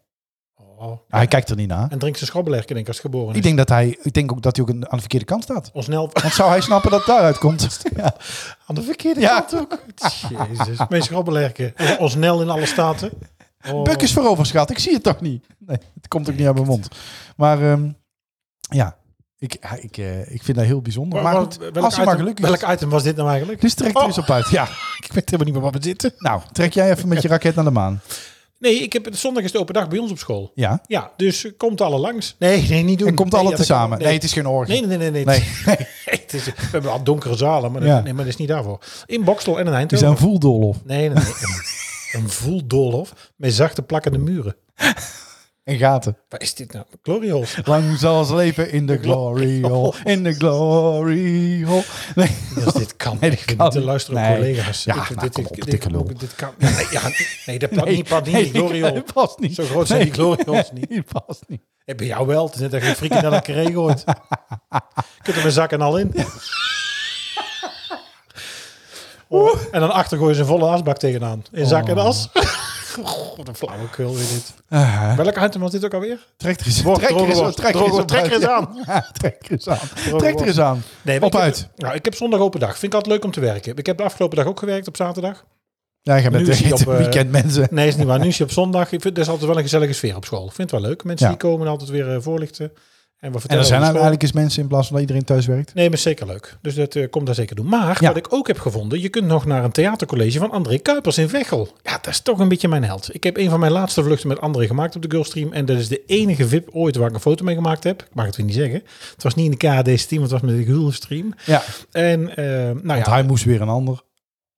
[SPEAKER 2] Oh.
[SPEAKER 3] Ah, Hij kijkt er niet naar.
[SPEAKER 2] En drinkt zijn schobbelerken, denk ik, als het geboren is.
[SPEAKER 3] Ik denk dat hij, ik denk ook dat hij ook aan de verkeerde kant staat.
[SPEAKER 2] Ons snel
[SPEAKER 3] Want zou hij snappen dat het daaruit komt? Ja.
[SPEAKER 2] aan de verkeerde
[SPEAKER 3] Ja.
[SPEAKER 2] kant ook. Jezus, mijn schobbelerken. Ons snel in alle staten. Oh.
[SPEAKER 3] Buk is voorover, schat. Ik zie het toch niet. Nee, het komt ook niet uit mijn mond. Maar ehm, ja, ik, ja, ik, eh, ik vind dat heel bijzonder. Maar goed,
[SPEAKER 2] welk
[SPEAKER 3] als hij
[SPEAKER 2] item,
[SPEAKER 3] maar gelukkig is.
[SPEAKER 2] Welk item was dit nou eigenlijk?
[SPEAKER 3] Dus trek er
[SPEAKER 2] Oh.
[SPEAKER 3] eens op uit. Ja,
[SPEAKER 2] Ik weet helemaal niet meer waar we zitten.
[SPEAKER 3] nou, trek jij even met je raket naar de maan.
[SPEAKER 2] Nee, ik heb, zondag is de open dag bij ons op school.
[SPEAKER 3] Ja,
[SPEAKER 2] Ja, dus eh, komt alle langs. Nee, nee, niet doen.
[SPEAKER 3] en komt
[SPEAKER 2] Nee,
[SPEAKER 3] alle
[SPEAKER 2] ja, dat kan-
[SPEAKER 3] tezamen. Nee. het is geen orgie.
[SPEAKER 2] Nee, nee, nee, nee.
[SPEAKER 3] Nee.
[SPEAKER 2] nee. Het is, we hebben al donkere zalen, maar, dat,
[SPEAKER 3] Ja.
[SPEAKER 2] nee, maar dat is niet daarvoor. In Bokstel en in
[SPEAKER 3] Die
[SPEAKER 2] Eindhoven.
[SPEAKER 3] zijn voeldolhof.
[SPEAKER 2] Nee, nee, nee. Een, een voeldoolhof met zachte plakkende muren.
[SPEAKER 3] En gaten.
[SPEAKER 2] Waar is dit nou? Glorio's.
[SPEAKER 3] Lang zal ze leven in de glory hole. In de glory hole. Nee.
[SPEAKER 2] Dus dit kan
[SPEAKER 3] Nee,
[SPEAKER 2] nee,
[SPEAKER 3] dit
[SPEAKER 2] echt
[SPEAKER 3] kan
[SPEAKER 2] niet. De luisteren
[SPEAKER 3] niet. Nee.
[SPEAKER 2] collega's.
[SPEAKER 3] Ja,
[SPEAKER 2] Ik-
[SPEAKER 3] nou,
[SPEAKER 2] dit,
[SPEAKER 3] kom
[SPEAKER 2] dit-
[SPEAKER 3] op,
[SPEAKER 2] dit-
[SPEAKER 3] dikke lul.
[SPEAKER 2] Dit kan, ja, nee, ja, nee, dat past niet, past niet. die gloriol.
[SPEAKER 3] nee, past niet.
[SPEAKER 2] Zo groot zijn die glorio's
[SPEAKER 3] Nee,
[SPEAKER 2] niet.
[SPEAKER 3] die past niet.
[SPEAKER 2] Eh, Bij jou wel. Het is net dat je een frietje naar elkaar heen gooit. Je kunt er mijn zak en al in. Oh, en dan achter gooien ze een volle asbak tegenaan. In zak
[SPEAKER 3] Oh.
[SPEAKER 2] en as. Goh, Wat een flauwekul weer dit.
[SPEAKER 3] Ah,
[SPEAKER 2] Welke item was dit ook alweer?
[SPEAKER 3] trek er eens
[SPEAKER 2] Wordt
[SPEAKER 3] trek er eens-
[SPEAKER 2] droger,
[SPEAKER 3] trek er eens
[SPEAKER 2] droger,
[SPEAKER 3] op
[SPEAKER 2] trek er
[SPEAKER 3] uit.
[SPEAKER 2] eens aan.
[SPEAKER 3] Ja, trek er eens aan. Trek er eens aan.
[SPEAKER 2] Nee, maar
[SPEAKER 3] Op
[SPEAKER 2] ik heb-
[SPEAKER 3] uit.
[SPEAKER 2] nou, ik heb zondag open dag. Vind ik altijd leuk om te werken. Ik heb de afgelopen dag ook gewerkt op zaterdag.
[SPEAKER 3] Ja, jij bent
[SPEAKER 2] Nu is hij
[SPEAKER 3] echt
[SPEAKER 2] op,
[SPEAKER 3] een
[SPEAKER 2] eh,
[SPEAKER 3] weekend mensen.
[SPEAKER 2] Nee, is niet waar. Nu is je op zondag. Ik vind, er is altijd wel een gezellige sfeer op school. Ik vind het wel leuk. Mensen
[SPEAKER 3] Ja.
[SPEAKER 2] die komen altijd weer eh, voorlichten. En we vertellen
[SPEAKER 3] En er
[SPEAKER 2] over
[SPEAKER 3] zijn nou
[SPEAKER 2] school.
[SPEAKER 3] eigenlijk eens mensen in plaats van dat iedereen thuis werkt.
[SPEAKER 2] Nee, maar zeker leuk. Dus dat eh, komt daar zeker doen. Maar
[SPEAKER 3] Ja.
[SPEAKER 2] wat ik ook heb gevonden, je kunt nog naar een theatercollege van André Kuipers in Veghel. Ja, dat is toch een beetje mijn held. Ik heb een van mijn laatste vluchten met André gemaakt op de Gulfstream. En dat is de enige VIP ooit waar ik een foto mee gemaakt heb. Ik mag het weer niet zeggen. Het was niet in de KHD-stream, het was met de Gulfstream.
[SPEAKER 3] Ja,
[SPEAKER 2] En eh, nou
[SPEAKER 3] want
[SPEAKER 2] ja,
[SPEAKER 3] hij moest weer een ander.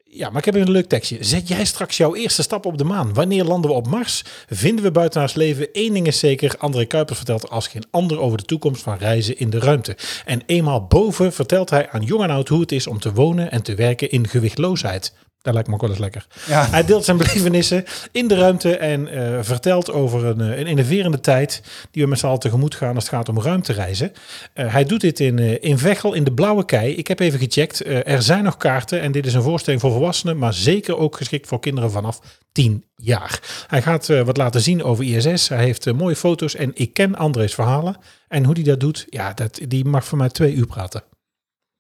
[SPEAKER 2] ja, maar ik heb een leuk tekstje. Zet jij straks jouw eerste stap op de maan? Wanneer landen we op Mars? Vinden we buitenaars leven? Eén ding is zeker, André Kuipers vertelt als geen ander over de toekomst van reizen in de ruimte. En eenmaal boven vertelt hij aan jong en oud hoe het is om te wonen en te werken in gewichtloosheid. Dat lijkt me ook wel eens lekker.
[SPEAKER 3] Ja.
[SPEAKER 2] Hij deelt zijn belevenissen in de ruimte en eh, vertelt over een, eh, een innoverende tijd die we met z'n allen tegemoet gaan als het gaat om ruimtereizen. Eh, hij doet dit in, eh, in Veghel in de Blauwe Kei. Ik heb even gecheckt. Eh, er zijn nog kaarten en dit is een voorstelling voor volwassenen, maar zeker ook geschikt voor kinderen vanaf 10 jaar. Hij gaat eh, wat laten zien over ISS. Hij heeft eh, mooie foto's en ik ken André's verhalen. En hoe die dat doet, ja, dat, die mag voor mij twee uur praten.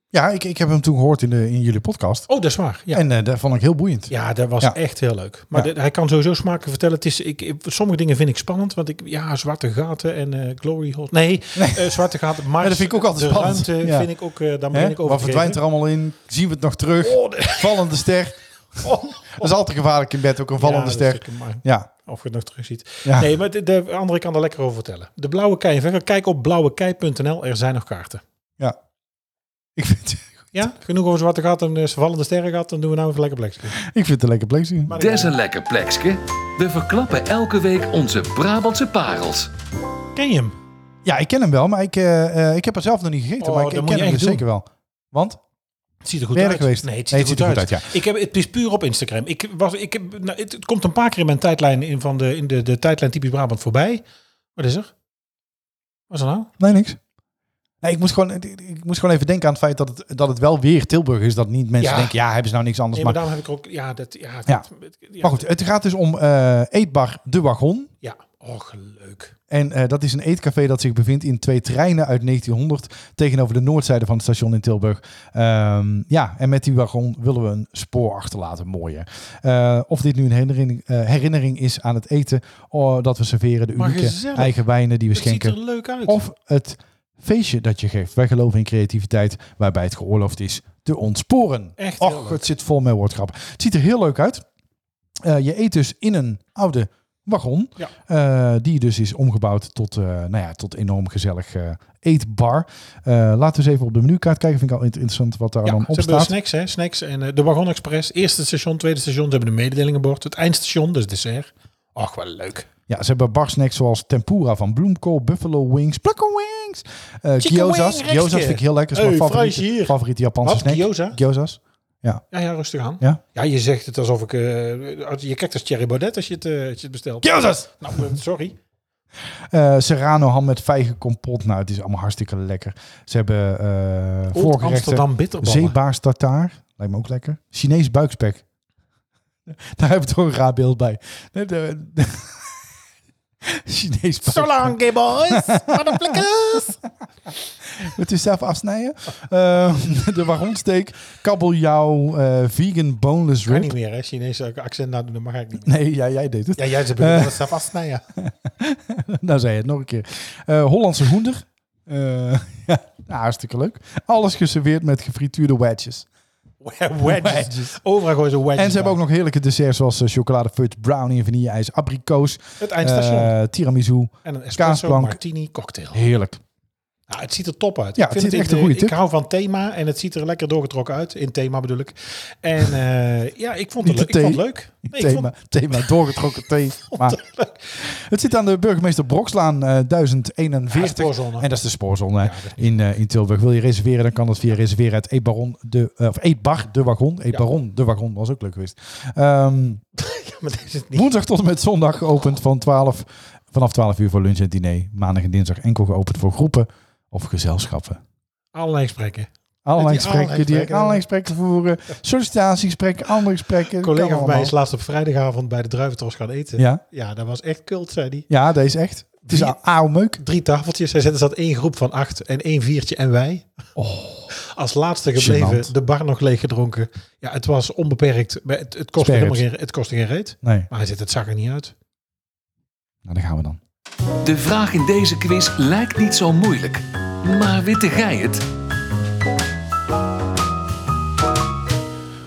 [SPEAKER 3] Ja, ik, ik heb hem toen gehoord in, de, in jullie podcast.
[SPEAKER 2] Oh, dat is waar. Ja.
[SPEAKER 3] En eh dat vond ik heel boeiend.
[SPEAKER 2] Ja, dat was
[SPEAKER 3] Ja.
[SPEAKER 2] echt heel leuk. Maar
[SPEAKER 3] Ja.
[SPEAKER 2] dit- hij kan sowieso smaken vertellen. Het is, ik, ik- sommige dingen vind ik spannend. Want ik, ja, zwarte gaten en eh, glory hole. Nee, eh, zwarte gaten. Maar
[SPEAKER 3] Ja, dat vind ik ook altijd
[SPEAKER 2] de
[SPEAKER 3] spannend.
[SPEAKER 2] ruimte
[SPEAKER 3] Ja.
[SPEAKER 2] vind ik ook, eh daar
[SPEAKER 3] Hè?
[SPEAKER 2] ben ik over
[SPEAKER 3] Wat verdwijnt er allemaal in? Zien we het nog terug?
[SPEAKER 2] Oh, de-
[SPEAKER 3] Vallende ster.
[SPEAKER 2] oh.
[SPEAKER 3] Dat is altijd gevaarlijk in bed, ook een vallende
[SPEAKER 2] Ja, dat
[SPEAKER 3] ster.
[SPEAKER 2] stukje, maar
[SPEAKER 3] Ja,
[SPEAKER 2] Of je het nog terug ziet.
[SPEAKER 3] Ja.
[SPEAKER 2] Nee, maar de, de andere kan er lekker over vertellen. De blauwe kei. in Veghel. Kijk op blauwekei.nl. Er zijn nog kaarten.
[SPEAKER 3] ja. Ik vind,
[SPEAKER 2] Ja, genoeg over zwarte gaten en eh, vallende sterren gehad. Dan doen we nou even lekker plekje.
[SPEAKER 3] ik vind het een lekker plek zien.
[SPEAKER 1] Des een lekker plekske. We verklappen elke week onze Brabantse parels.
[SPEAKER 2] Ken je hem?
[SPEAKER 3] Ja, ik ken hem wel, maar ik, eh, eh, ik heb er zelf nog niet gegeten.
[SPEAKER 2] Oh,
[SPEAKER 3] maar ik,
[SPEAKER 2] dat
[SPEAKER 3] ik
[SPEAKER 2] moet
[SPEAKER 3] ken
[SPEAKER 2] je
[SPEAKER 3] hem dus
[SPEAKER 2] echt
[SPEAKER 3] zeker wel. Want?
[SPEAKER 2] Het ziet er goed
[SPEAKER 3] Ben je er
[SPEAKER 2] uit.
[SPEAKER 3] geweest?
[SPEAKER 2] Nee, het ziet,
[SPEAKER 3] Nee,
[SPEAKER 2] er, goed uit.
[SPEAKER 3] ja.
[SPEAKER 2] Ik heb, het is puur op Instagram. Ik was, ik heb, nou, het, het komt een paar keer in mijn tijdlijn, in, van de, in de, de tijdlijn typisch Brabant voorbij. Wat is er? Wat is er nou?
[SPEAKER 3] Nee, niks. Nee, ik, moest gewoon, ik- ik ik moest gewoon even denken aan het feit dat het, dat het wel weer Tilburg is. Dat niet mensen
[SPEAKER 2] Ja.
[SPEAKER 3] denken, ja, hebben ze nou niks
[SPEAKER 2] Nee,
[SPEAKER 3] anders.
[SPEAKER 2] maar
[SPEAKER 3] maar,
[SPEAKER 2] daarom heb ik er ook... Ja, dat, ja, dat,
[SPEAKER 3] Ja.
[SPEAKER 2] ja,
[SPEAKER 3] maar goed, het gaat dus om eh, Eetbar De Wagon.
[SPEAKER 2] Ja. Och, leuk.
[SPEAKER 3] En eh, dat is een eetcafé dat zich bevindt in twee treinen uit 1900 tegenover de noordzijde van het station in Tilburg. Ehm, ja, en met die wagon willen we een spoor achterlaten, mooie. Eh, of dit nu een herinnering, eh, herinnering is aan het eten oh, dat we serveren, de
[SPEAKER 2] Maar
[SPEAKER 3] unieke
[SPEAKER 2] gezellig.
[SPEAKER 3] eigen wijnen die we
[SPEAKER 2] Het ziet
[SPEAKER 3] schenken.
[SPEAKER 2] er leuk uit.
[SPEAKER 3] Of het feestje dat je geeft. Wij geloven in creativiteit, waarbij het geoorloofd is te ontsporen.
[SPEAKER 2] Echt heel
[SPEAKER 3] Och,
[SPEAKER 2] leuk.
[SPEAKER 3] het zit vol met woordgrappen. Het ziet er heel leuk uit. Eh, je eet dus in een oude wagon.
[SPEAKER 2] Ja.
[SPEAKER 3] eh, die dus is omgebouwd tot, eh, nou ja, tot enorm gezellig eh, eetbar. Eh, laten we eens even op de menukaart kijken. Vind ik al int- interessant wat daar
[SPEAKER 2] Ja,
[SPEAKER 3] dan
[SPEAKER 2] ze
[SPEAKER 3] op
[SPEAKER 2] hebben
[SPEAKER 3] staat.
[SPEAKER 2] snacks, hè? Snacks en eh, de Wagon Express. Eerste station, tweede station. Ze hebben een mededelingenbord. Het eindstation, dus dessert. Ach, wel leuk.
[SPEAKER 3] Ja, ze hebben barsnacks zoals tempura van bloemkool, buffalo wings, plakko wings,
[SPEAKER 2] Chicken
[SPEAKER 3] eh
[SPEAKER 2] wing
[SPEAKER 3] gyozas.
[SPEAKER 2] rechtje.
[SPEAKER 3] Gyozas vind ik heel lekker. Dat is
[SPEAKER 2] Hey,
[SPEAKER 3] mijn
[SPEAKER 2] fruitje
[SPEAKER 3] favoriete,
[SPEAKER 2] hier.
[SPEAKER 3] favoriete Japanse
[SPEAKER 2] Wat,
[SPEAKER 3] snack.
[SPEAKER 2] gyoza?
[SPEAKER 3] Gyozas.
[SPEAKER 2] Ja, ja, rustig aan.
[SPEAKER 3] Ja?
[SPEAKER 2] je zegt het alsof ik... eh, als- je kijkt als Thierry Baudet als je het, eh, als je het bestelt.
[SPEAKER 3] Gyozas!
[SPEAKER 2] Nou, eh, sorry.
[SPEAKER 3] Eh, Serrano ham met vijgen kompot. Nou, het is allemaal hartstikke lekker. Ze hebben eh
[SPEAKER 2] Old
[SPEAKER 3] voorgerechten.
[SPEAKER 2] Amsterdam bitterballen.
[SPEAKER 3] Zeebaars tartaar. Lijkt me ook lekker. Chinees buikspek. Daar heb ik toch een raar beeld bij. Nee, de- de- Chinees
[SPEAKER 2] So
[SPEAKER 3] buikspek.
[SPEAKER 2] long, gay boys. Wat een flikkers.
[SPEAKER 3] Het is zelf afsnijden. Eh, de wagonsteek. Kabeljauw. eh, vegan boneless
[SPEAKER 2] Kan
[SPEAKER 3] rib.
[SPEAKER 2] niet meer, hè? Chinese accent nadoen, dat mag ik niet meer.
[SPEAKER 3] Nee, ja, jij deed het.
[SPEAKER 2] Ja, jij ze
[SPEAKER 3] Eh.
[SPEAKER 2] bedoelen dat ze vastsnijden.
[SPEAKER 3] Nou zei je het nog een keer. Eh, Hollandse hoender. Eh, ja, nou, hartstikke leuk. Alles geserveerd met gefrituurde wedges.
[SPEAKER 2] Wedges. Overal gooien ze wedges.
[SPEAKER 3] En ze hebben ook nog heerlijke desserts zoals eh, chocoladefudge, brownie en vanille-ijs, abrikoos,
[SPEAKER 2] bij. het eindstation.
[SPEAKER 3] eh, tiramisu.
[SPEAKER 2] en een espresso
[SPEAKER 3] kaasplank.
[SPEAKER 2] martini cocktail.
[SPEAKER 3] Heerlijk.
[SPEAKER 2] Nou, het ziet er top uit.
[SPEAKER 3] Ja,
[SPEAKER 2] Ik
[SPEAKER 3] het
[SPEAKER 2] vind
[SPEAKER 3] ziet echt
[SPEAKER 2] in-
[SPEAKER 3] een goede
[SPEAKER 2] Ik
[SPEAKER 3] tip.
[SPEAKER 2] hou van thema en het ziet er lekker doorgetrokken uit. In thema bedoel ik. En eh, ja, ik vond het, leuk.
[SPEAKER 3] Niet de
[SPEAKER 2] ik vond het
[SPEAKER 3] thee.
[SPEAKER 2] leuk. Nee, ik
[SPEAKER 3] thema, thema doorgetrokken thee. Maar
[SPEAKER 2] vond het leuk.
[SPEAKER 3] het zit aan de burgemeester Brokslaan eh,
[SPEAKER 2] Ja,
[SPEAKER 3] 1041.
[SPEAKER 2] spoorzone.
[SPEAKER 3] en dat is de spoorzone hè,
[SPEAKER 2] Ja, dat is
[SPEAKER 3] in, eh, in Tilburg. Wil je reserveren, dan kan dat via reserveren uit Eetbaron de, eh, of Eetbar de Wagon. Eetbaron de Wagon was ook leuk geweest. Ehm,
[SPEAKER 2] maar dit is het niet.
[SPEAKER 3] woensdag tot en met zondag geopend van 12, vanaf 12 uur voor lunch en diner. Maandag en dinsdag enkel geopend voor groepen of gezelschappen.
[SPEAKER 2] Allerlei gesprekken.
[SPEAKER 3] Allerlei
[SPEAKER 2] Met die allerlei
[SPEAKER 3] gesprekken, die
[SPEAKER 2] gesprekken.
[SPEAKER 3] allerlei gesprekken voeren, sollicitatiegesprekken, andere gesprekken.
[SPEAKER 2] Een collega
[SPEAKER 3] kan
[SPEAKER 2] van mij is
[SPEAKER 3] allemaal.
[SPEAKER 2] laatst op vrijdagavond bij de druiventros gaan eten.
[SPEAKER 3] Ja,
[SPEAKER 2] Ja, dat was echt cult, zei hij.
[SPEAKER 3] ja, dat is echt. Het is
[SPEAKER 2] Drie-
[SPEAKER 3] a- auw meuk.
[SPEAKER 2] Drie tafeltjes. Hij zette zat één groep van acht en één viertje en wij. Als laatste gebleven,
[SPEAKER 3] Oh. Gênant.
[SPEAKER 2] de bar nog leeg gedronken. Ja, het was onbeperkt. Maar Het, het, kostte,
[SPEAKER 3] Sperret.
[SPEAKER 2] helemaal geen, het kostte geen reet.
[SPEAKER 3] Nee,
[SPEAKER 2] Maar hij zegt, het zag er niet uit.
[SPEAKER 3] nou daar gaan we dan.
[SPEAKER 1] De vraag in deze quiz lijkt niet zo moeilijk. Maar witte gij het?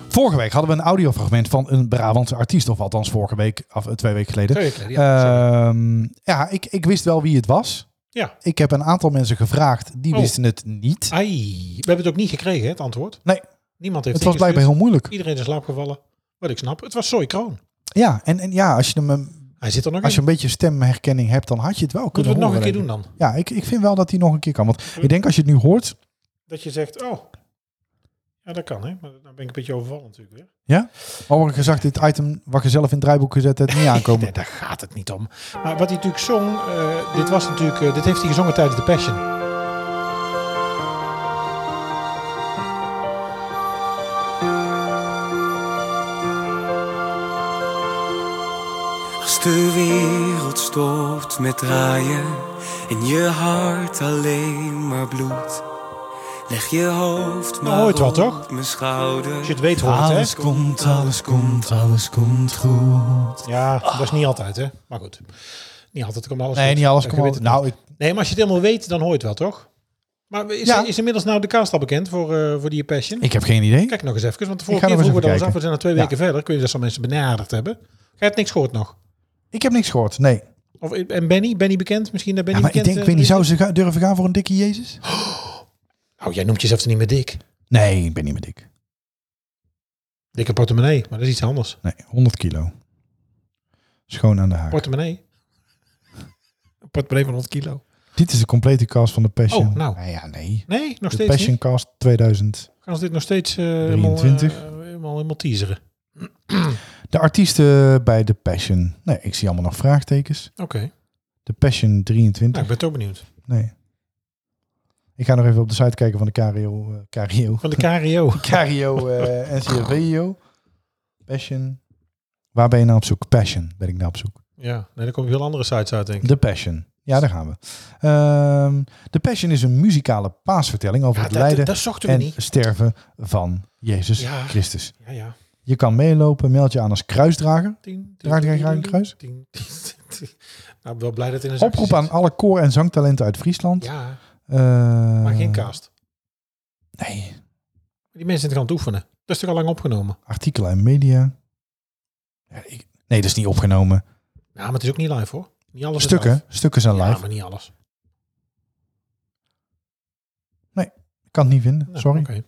[SPEAKER 3] Vorige week hadden we een audiofragment van een Brabantse artiest, of althans vorige week, of eh, twee weken geleden.
[SPEAKER 2] Twee weken geleden, ja, sorry.
[SPEAKER 3] Ehm, ja, ik, ik wist wel wie het was.
[SPEAKER 2] Ja.
[SPEAKER 3] Ik heb een aantal mensen gevraagd, die
[SPEAKER 2] Oh.
[SPEAKER 3] wisten het niet.
[SPEAKER 2] Ai, we hebben het ook niet gekregen, hè, het antwoord.
[SPEAKER 3] Nee.
[SPEAKER 2] Niemand heeft
[SPEAKER 3] Het was
[SPEAKER 2] ingestuurd.
[SPEAKER 3] blijkbaar heel moekelijk.
[SPEAKER 2] Iedereen is in slaap gevallen. Wat ik snap, het was Soy Kroon.
[SPEAKER 3] Ja, en, en ja, als je, hem, eh,
[SPEAKER 2] Hij zit er nog
[SPEAKER 3] als je
[SPEAKER 2] in.
[SPEAKER 3] een beetje stemherkenning hebt, dan had je het wel
[SPEAKER 2] Moeten
[SPEAKER 3] kunnen
[SPEAKER 2] we het nog een
[SPEAKER 3] horen,
[SPEAKER 2] keer
[SPEAKER 3] denk
[SPEAKER 2] doen dan?
[SPEAKER 3] ik. Ja, ik, ik vind wel dat hij nog een keer kan. Want ik denk als je het nu hoort,
[SPEAKER 2] Dat je zegt, oh, ja, dat kan, hè. Maar dan ben ik een beetje overvallen natuurlijk weer.
[SPEAKER 3] Overigens gezegd, dit item wat je zelf in het draaiboek gezet hebt, niet aankomen.
[SPEAKER 2] Nee, daar gaat het niet om. Maar wat hij natuurlijk zong, eh, dit was natuurlijk, eh, dit heeft hij gezongen tijdens de Passion.
[SPEAKER 4] Als de wereld stopt met draaien en je hart alleen maar bloedt. Leg je hoofd maar
[SPEAKER 2] hoort wel,
[SPEAKER 4] op
[SPEAKER 2] toch?
[SPEAKER 4] mijn schouder.
[SPEAKER 2] Als je het weet hoort, hè.
[SPEAKER 4] komt, alles komt, alles komt goed.
[SPEAKER 2] Ja, dat is niet altijd, hè. Maar goed. Niet altijd komt alles
[SPEAKER 3] Nee,
[SPEAKER 2] goed.
[SPEAKER 3] niet alles
[SPEAKER 2] Je
[SPEAKER 3] komt
[SPEAKER 2] weet
[SPEAKER 3] al.
[SPEAKER 2] het
[SPEAKER 3] Nou, ik,
[SPEAKER 2] Nee, maar als je het helemaal weet, dan hoor je het wel, toch? Maar is,
[SPEAKER 3] Ja.
[SPEAKER 2] is inmiddels nou de cast al bekend voor, eh, voor die Passion?
[SPEAKER 3] ik heb geen idee.
[SPEAKER 2] Kijk nog eens even, want de vorige
[SPEAKER 3] ga
[SPEAKER 2] keer
[SPEAKER 3] nog eens
[SPEAKER 2] vroegen we dat eens
[SPEAKER 3] even
[SPEAKER 2] af. We zijn al twee
[SPEAKER 3] Ja.
[SPEAKER 2] weken verder. Kun je dat zo mensen benaderd hebben? Ga je het niks gehoord nog?
[SPEAKER 3] Ik heb niks gehoord, nee.
[SPEAKER 2] Of, en Benny? Benny bekend? Misschien dat
[SPEAKER 3] Ja,
[SPEAKER 2] Benny
[SPEAKER 3] maar ik
[SPEAKER 2] bekend...
[SPEAKER 3] denk, ik
[SPEAKER 2] eh,
[SPEAKER 3] weet niet,
[SPEAKER 2] is?
[SPEAKER 3] zou ze gaan- durven gaan voor een dikke Jezus?
[SPEAKER 2] Oh, jij noemt jezelf niet meer dik.
[SPEAKER 3] Nee, ik ben niet meer dik.
[SPEAKER 2] Dikke portemonnee, maar dat is iets anders.
[SPEAKER 3] Nee, 100 kilo. Schoon aan de haak.
[SPEAKER 2] Portemonnee. Een portemonnee van 100 kilo.
[SPEAKER 3] Dit is de complete cast van de Passion.
[SPEAKER 2] Oh, nou.
[SPEAKER 3] ja, nee.
[SPEAKER 2] Nee, nog
[SPEAKER 3] De
[SPEAKER 2] steeds
[SPEAKER 3] Passion
[SPEAKER 2] niet.
[SPEAKER 3] Cast 2000.
[SPEAKER 2] Gaan ze dit nog steeds eh, helemaal,
[SPEAKER 3] 23.
[SPEAKER 2] eh, helemaal, helemaal teaseren?
[SPEAKER 3] De artiesten bij de Passion. Nee, ik zie allemaal nog vraagtekens.
[SPEAKER 2] Oké.
[SPEAKER 3] De Passion
[SPEAKER 2] Nou,
[SPEAKER 3] 23.
[SPEAKER 2] ik ben toch benieuwd.
[SPEAKER 3] Nee. Ik ga nog even op de site kijken van de KRO. eh, KRO.
[SPEAKER 2] Van de KRO.
[SPEAKER 3] Cario eh NCRVO. Passion. Waar ben je nou op zoek? Passion ben ik nou op zoek.
[SPEAKER 2] ja, nee, dan komen heel andere sites uit, denk ik.
[SPEAKER 3] The Passion. Ja, daar gaan we. Ehm The Passion is een muzikale paasvertelling over
[SPEAKER 2] Ja,
[SPEAKER 3] het
[SPEAKER 2] dat-
[SPEAKER 3] lijden
[SPEAKER 2] dat, zochten we
[SPEAKER 3] en
[SPEAKER 2] niet.
[SPEAKER 3] sterven van Jezus
[SPEAKER 2] Ja.
[SPEAKER 3] Christus.
[SPEAKER 2] Ja, ja.
[SPEAKER 3] Je kan meelopen, meld je aan als kruisdrager.
[SPEAKER 2] Tien,
[SPEAKER 3] Draag jij graag een kruis?
[SPEAKER 2] tien, tien, tien. Nou, ik ben wel blij dat het in een zakje
[SPEAKER 3] Oproep aan
[SPEAKER 2] zit.
[SPEAKER 3] alle koor- en zangtalenten uit Friesland.
[SPEAKER 2] Ja,
[SPEAKER 3] Eh,
[SPEAKER 2] maar geen cast.
[SPEAKER 3] Nee.
[SPEAKER 2] Die Die mensen zijn toch aan het oefenen. Dat is toch al lang opgenomen?
[SPEAKER 3] Artikelen en media. Ja, ik- nee, dat is niet opgenomen.
[SPEAKER 2] Ja, maar het is ook niet live hoor. Niet alles
[SPEAKER 3] Stukken,
[SPEAKER 2] is live.
[SPEAKER 3] stukken zijn live.
[SPEAKER 2] Ja, maar niet alles.
[SPEAKER 3] Ik kan het niet vinden,
[SPEAKER 2] Nou,
[SPEAKER 3] sorry.
[SPEAKER 2] oké.
[SPEAKER 3] Heb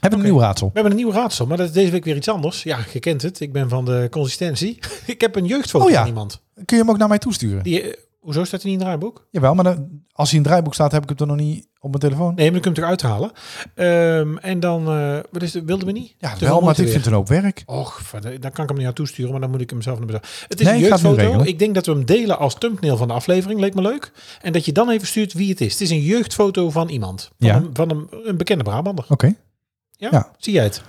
[SPEAKER 3] ik een
[SPEAKER 2] oké.
[SPEAKER 3] nieuw raadsel?
[SPEAKER 2] We hebben een nieuw raadsel, maar dat is deze week weer iets anders. Ja, je kent het. Ik ben van de consistentie. ik heb een jeugdfoto
[SPEAKER 3] Oh ja.
[SPEAKER 2] van iemand.
[SPEAKER 3] Kun je hem ook naar mij toesturen?
[SPEAKER 2] Die, eh, hoezo staat hij niet in het draaiboek?
[SPEAKER 3] Jawel, maar dan, als hij in het draaiboek staat, heb ik het dan nog niet op mijn telefoon.
[SPEAKER 2] Nee, maar dan kun je hem toch uithalen. Ehm, en dan, eh, wat is het, wilde me niet?
[SPEAKER 3] Ja,
[SPEAKER 2] Te
[SPEAKER 3] wel,
[SPEAKER 2] veel
[SPEAKER 3] maar ik
[SPEAKER 2] moeite
[SPEAKER 3] vind het een hoop werk.
[SPEAKER 2] weer. Och, verder, dan kan ik hem niet aan toesturen, maar dan moet ik hem zelf naar bezorgen. Het is
[SPEAKER 3] Nee,
[SPEAKER 2] een
[SPEAKER 3] ik ga het nu
[SPEAKER 2] jeugdfoto.
[SPEAKER 3] regelen.
[SPEAKER 2] Ik denk dat we hem delen als thumbnail van de aflevering. Leek me leuk. En dat je dan even stuurt wie het is. Het is een jeugdfoto van iemand. Van,
[SPEAKER 3] Ja.
[SPEAKER 2] een, van een, een bekende Brabander.
[SPEAKER 3] Oké.
[SPEAKER 2] Ja?
[SPEAKER 3] Ja.
[SPEAKER 2] Zie jij het?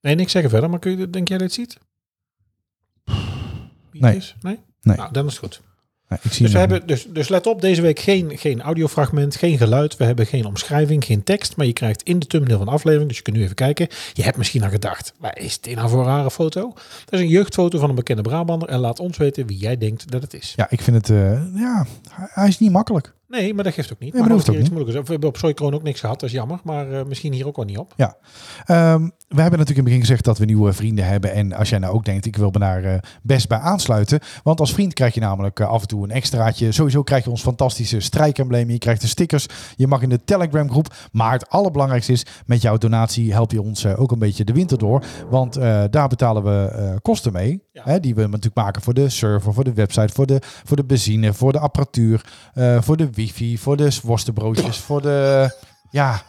[SPEAKER 2] Nee, niks zeggen verder, maar kun je, denk jij dat je het ziet? Wie het
[SPEAKER 3] Nee.
[SPEAKER 2] is? Nee?
[SPEAKER 3] Nee.
[SPEAKER 2] Nou, dan is het goed.
[SPEAKER 3] Nou, ik zie
[SPEAKER 2] Dus, we
[SPEAKER 3] hem nog
[SPEAKER 2] hebben, dus, dus let op, deze week geen, geen audiofragment, geen geluid. We hebben geen omschrijving, geen tekst. Maar je krijgt in de thumbnail van de aflevering, dus je kunt nu even kijken. Je hebt misschien al gedacht, waar is dit nou voor een rare foto? Dat is een jeugdfoto van een bekende Brabander. En laat ons weten wie jij denkt dat het is.
[SPEAKER 3] niet. Ja, ik vind het... eh, ja, hij- hij is niet makkelijk.
[SPEAKER 2] Nee, maar dat geeft ook niet.
[SPEAKER 3] Nee,
[SPEAKER 2] maar
[SPEAKER 3] maar
[SPEAKER 2] dat
[SPEAKER 3] dat
[SPEAKER 2] is iets
[SPEAKER 3] hoeft
[SPEAKER 2] moeilijkers. Of We hebben op Soykroon ook niks gehad, dat is jammer. Maar eh, misschien hier ook wel niet op.
[SPEAKER 3] Ja. Ehm, we hebben natuurlijk in het begin gezegd dat we nieuwe vrienden hebben. En als jij nou ook denkt, ik wil me daar eh, best bij aansluiten. Want als vriend krijg je namelijk eh, af en toe een extraatje. Sowieso krijg je ons fantastische strijkemblemen. Je krijgt de stickers. Je mag in de Telegram groep. Maar het allerbelangrijkste is, met jouw donatie help je ons eh, ook een beetje de winter door. Want eh, daar betalen we eh, kosten mee.
[SPEAKER 2] Ja.
[SPEAKER 3] Hè, die we natuurlijk maken voor de server, voor de website, voor de, voor de benzine, voor de apparatuur. eh, voor de wifi, voor de worstenbroodjes, voor de... Ja,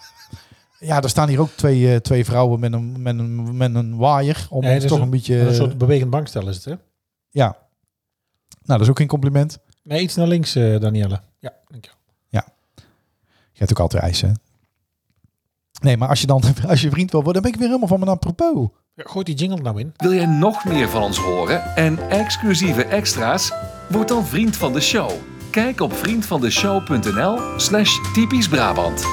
[SPEAKER 3] ja, er staan hier ook twee, eh, twee vrouwen met een, met een, met een waaier. Om
[SPEAKER 2] Nee,
[SPEAKER 3] ons
[SPEAKER 2] dat is
[SPEAKER 3] toch een, beetje...
[SPEAKER 2] Maar Een soort bewegend bankstel is het, hè?
[SPEAKER 3] Ja. Nou, dat is ook geen compliment.
[SPEAKER 2] Nee, iets naar links, eh Danielle. Ja, dankjewel.
[SPEAKER 3] Je hebt ook altijd ijs, hè? Nee, maar als je dan als je vriend wil worden, dan ben ik weer helemaal van mijn apropos.
[SPEAKER 2] Ja, gooi die jingle nou in.
[SPEAKER 1] Wil jij nog meer van ons horen en exclusieve extra's? Word dan vriend van de show. Kijk op vriendvandeshow.nl slash typisch Brabant.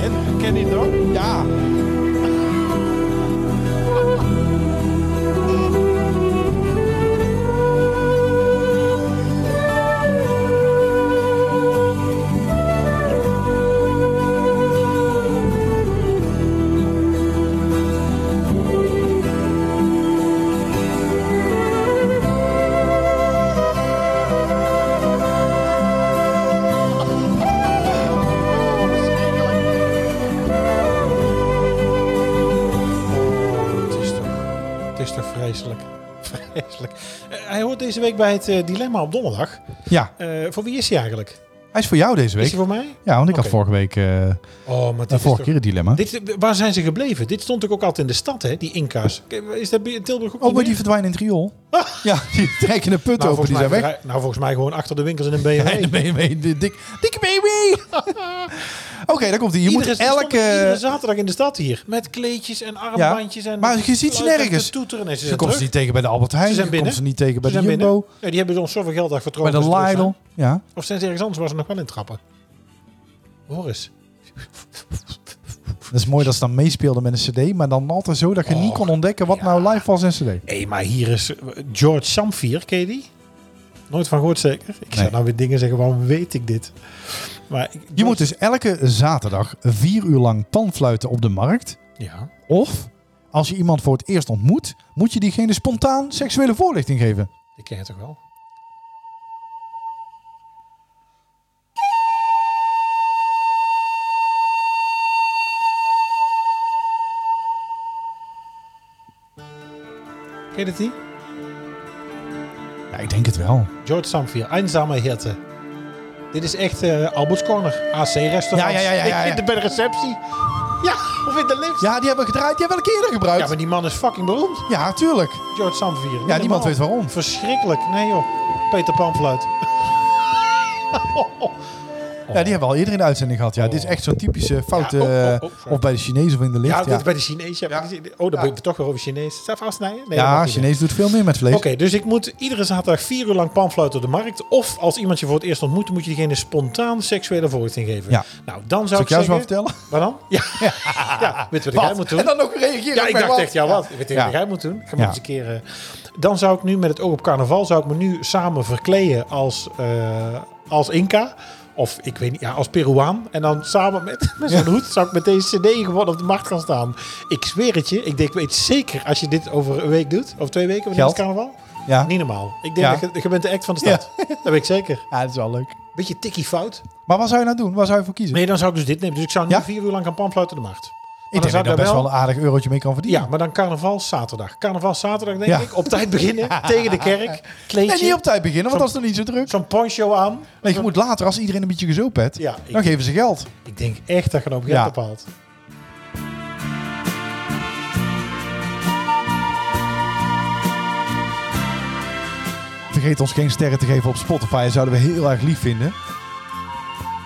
[SPEAKER 3] Ken, ken je dat? Ja.
[SPEAKER 2] Oh, Het is toch, het is toch vreselijk. Vreselijk. Eh, hij hoort deze week bij het eh, Dilemma op donderdag.
[SPEAKER 3] Ja,
[SPEAKER 2] Eh, voor wie is hij eigenlijk?
[SPEAKER 3] hij is voor jou deze
[SPEAKER 2] Is
[SPEAKER 3] week.
[SPEAKER 2] hij voor mij?
[SPEAKER 3] Ja, want ik
[SPEAKER 2] Oké.
[SPEAKER 3] had vorige week, eh,
[SPEAKER 2] Oh, maar
[SPEAKER 3] de
[SPEAKER 2] dit is
[SPEAKER 3] vorige
[SPEAKER 2] toch...
[SPEAKER 3] keer het dilemma.
[SPEAKER 2] Dit, eh, waar zijn ze gebleven? Dit stond ook ook altijd in de stad, hè? Die inka's. Kijk, Is dat bij- in Tilburg ook
[SPEAKER 3] Oh, maar die
[SPEAKER 2] niet meer?
[SPEAKER 3] verdwijnen in het riool. Ja, die trekken de put
[SPEAKER 2] nou,
[SPEAKER 3] open, die
[SPEAKER 2] volgens Nou,
[SPEAKER 3] zijn
[SPEAKER 2] mij
[SPEAKER 3] weg.
[SPEAKER 2] verdrij- nou, volgens mij gewoon achter de winkels in een BMW.
[SPEAKER 3] Nee, de BMW, de dik, dikke baby. Oké, daar komt hij. Je
[SPEAKER 2] Iedere-
[SPEAKER 3] moet
[SPEAKER 2] ze stonden iedere
[SPEAKER 3] elke...
[SPEAKER 2] zaterdag in de stad hier. Met kleedjes en armbandjes. en
[SPEAKER 3] maar je ziet ze
[SPEAKER 2] fluiten en
[SPEAKER 3] nergens.
[SPEAKER 2] te toeteren. Nee, ze
[SPEAKER 3] Ze
[SPEAKER 2] zijn
[SPEAKER 3] komt ze
[SPEAKER 2] terug.
[SPEAKER 3] niet tegen bij de Albert Heijn.
[SPEAKER 2] Ze zijn
[SPEAKER 3] Ze komt
[SPEAKER 2] binnen.
[SPEAKER 3] ze niet tegen bij
[SPEAKER 2] Ze
[SPEAKER 3] de
[SPEAKER 2] zijn
[SPEAKER 3] Jumbo.
[SPEAKER 2] binnen. Nee, die hebben ons zoveel geld dus daar
[SPEAKER 3] Bij
[SPEAKER 2] vertrokken.
[SPEAKER 3] de
[SPEAKER 2] dat ze terug
[SPEAKER 3] Lidl. Ja.
[SPEAKER 2] zijn. Of zijn ze ergens anders waar ze nog wel in trappen? Hoor eens.
[SPEAKER 3] Dat is mooi dat ze dan meespeelden met een cd. Maar dan altijd zo dat je niet kon ontdekken wat nou live was en cd.
[SPEAKER 2] Hé, maar hier is eh, George Samfier, ken je die? Nooit van gehoord zeker? Ik zou
[SPEAKER 3] Nee.
[SPEAKER 2] nou weer dingen zeggen, waarom weet ik dit? Maar ik-
[SPEAKER 3] Je moet dus elke zaterdag vier uur lang panfluiten op de markt.
[SPEAKER 2] Ja.
[SPEAKER 3] Of, als je iemand voor het eerst ontmoet, moet je diegene spontaan seksuele voorlichting geven.
[SPEAKER 2] Ik ken het toch wel? Ken je dat die?
[SPEAKER 3] Ja, ik denk het wel.
[SPEAKER 2] George Samfier, Einsame Hirte. Dit is echt eh Albert's Corner, AC-restaurant.
[SPEAKER 3] Ja, ja, ja, ja, ja, ja.
[SPEAKER 2] Bij de receptie. Ja, of in de lift.
[SPEAKER 3] Ja, die hebben we gedraaid. Die hebben we al een keer
[SPEAKER 2] Ja,
[SPEAKER 3] gebruikt. Ja,
[SPEAKER 2] maar die man is fucking beroemd.
[SPEAKER 3] tuurlijk.
[SPEAKER 2] George Samvier. Niet
[SPEAKER 3] niemand
[SPEAKER 2] normaal.
[SPEAKER 3] weet waarom.
[SPEAKER 2] Verschrikkelijk. Nee joh. Peter Panfluit.
[SPEAKER 3] Ja, die hebben we al eerder in de uitzending gehad. Ja, dit is echt zo'n typische foute...
[SPEAKER 2] Oh. Ja, oh, oh, oh,
[SPEAKER 3] eh,
[SPEAKER 2] sorry.
[SPEAKER 3] of bij de Chinees of in de lift.
[SPEAKER 2] Ja,
[SPEAKER 3] Ja,
[SPEAKER 2] dit bij de Chinees. Ja.
[SPEAKER 3] Ja.
[SPEAKER 2] Oh, dan
[SPEAKER 3] Ja.
[SPEAKER 2] ben ik toch weer over Chinees. Zelf afsnijden? Nee, dat
[SPEAKER 3] ja
[SPEAKER 2] mag niet meer.
[SPEAKER 3] Chinees doet veel meer met vlees.
[SPEAKER 2] Oké, dus ik moet iedere zaterdag vier uur lang panfluiten op de markt. Of als iemand je voor het eerst ontmoet, moet je diegene spontaan seksuele voorlichting geven.
[SPEAKER 3] Ja.
[SPEAKER 2] Nou, dan
[SPEAKER 3] Zal
[SPEAKER 2] zou
[SPEAKER 3] ik
[SPEAKER 2] ik
[SPEAKER 3] jou
[SPEAKER 2] zeggen...
[SPEAKER 3] eens wat vertellen?
[SPEAKER 2] Waar dan? Ja. ja. weet je wat, jij moet doen?
[SPEAKER 3] En dan ook reageren.
[SPEAKER 2] Ja,
[SPEAKER 3] op
[SPEAKER 2] ik
[SPEAKER 3] mijn
[SPEAKER 2] dacht
[SPEAKER 3] wat?
[SPEAKER 2] echt, ja wat? Weet je
[SPEAKER 3] Ja.
[SPEAKER 2] wat jij moet doen? Ik ga
[SPEAKER 3] Ja.
[SPEAKER 2] maar eens een keer... eh, dan zou ik nu met het oog op carnaval, zou ik me nu samen verkleden als, eh, als Inca. Of ik weet niet, ja, als Peruaan. En dan samen met, met zo'n hoed zou ik met deze cd gewoon op de markt gaan staan. Ik zweer het je. Ik denk, ik weet zeker als je dit over een week doet. Of twee weken, wanneer
[SPEAKER 3] Geld.
[SPEAKER 2] is carnaval?
[SPEAKER 3] Ja.
[SPEAKER 2] Niet normaal. Ik denk
[SPEAKER 3] Ja.
[SPEAKER 2] dat je, je bent de act van de stad. Dat weet ik zeker.
[SPEAKER 3] ja, dat is wel leuk.
[SPEAKER 2] Beetje tikkie fout.
[SPEAKER 3] Maar wat zou je nou doen? Waar zou je voor kiezen?
[SPEAKER 2] Nee, dan zou ik dus dit nemen. Dus ik zou nu
[SPEAKER 3] Ja?
[SPEAKER 2] vier uur lang gaan panfluiten de markt. Maar
[SPEAKER 3] ik
[SPEAKER 2] dan
[SPEAKER 3] denk dat
[SPEAKER 2] zou
[SPEAKER 3] je
[SPEAKER 2] daar
[SPEAKER 3] daar best wel een aardig eurotje mee kan verdienen.
[SPEAKER 2] Ja, maar dan carnaval zaterdag. Carnaval zaterdag denk
[SPEAKER 3] Ja.
[SPEAKER 2] ik. Op tijd beginnen. tegen de kerk. Kleedje.
[SPEAKER 3] En niet op tijd beginnen, want dat is dan niet zo druk.
[SPEAKER 2] Zo'n poncho aan.
[SPEAKER 3] Nee, je moet later, als iedereen een beetje gezopen hebt,
[SPEAKER 2] Ja, ik-
[SPEAKER 3] dan geven ze geld.
[SPEAKER 2] Ik denk echt dat je dan op geld
[SPEAKER 3] Ja.
[SPEAKER 2] bepaalt.
[SPEAKER 3] Vergeet ons geen sterren te geven op Spotify, zouden we heel erg lief vinden.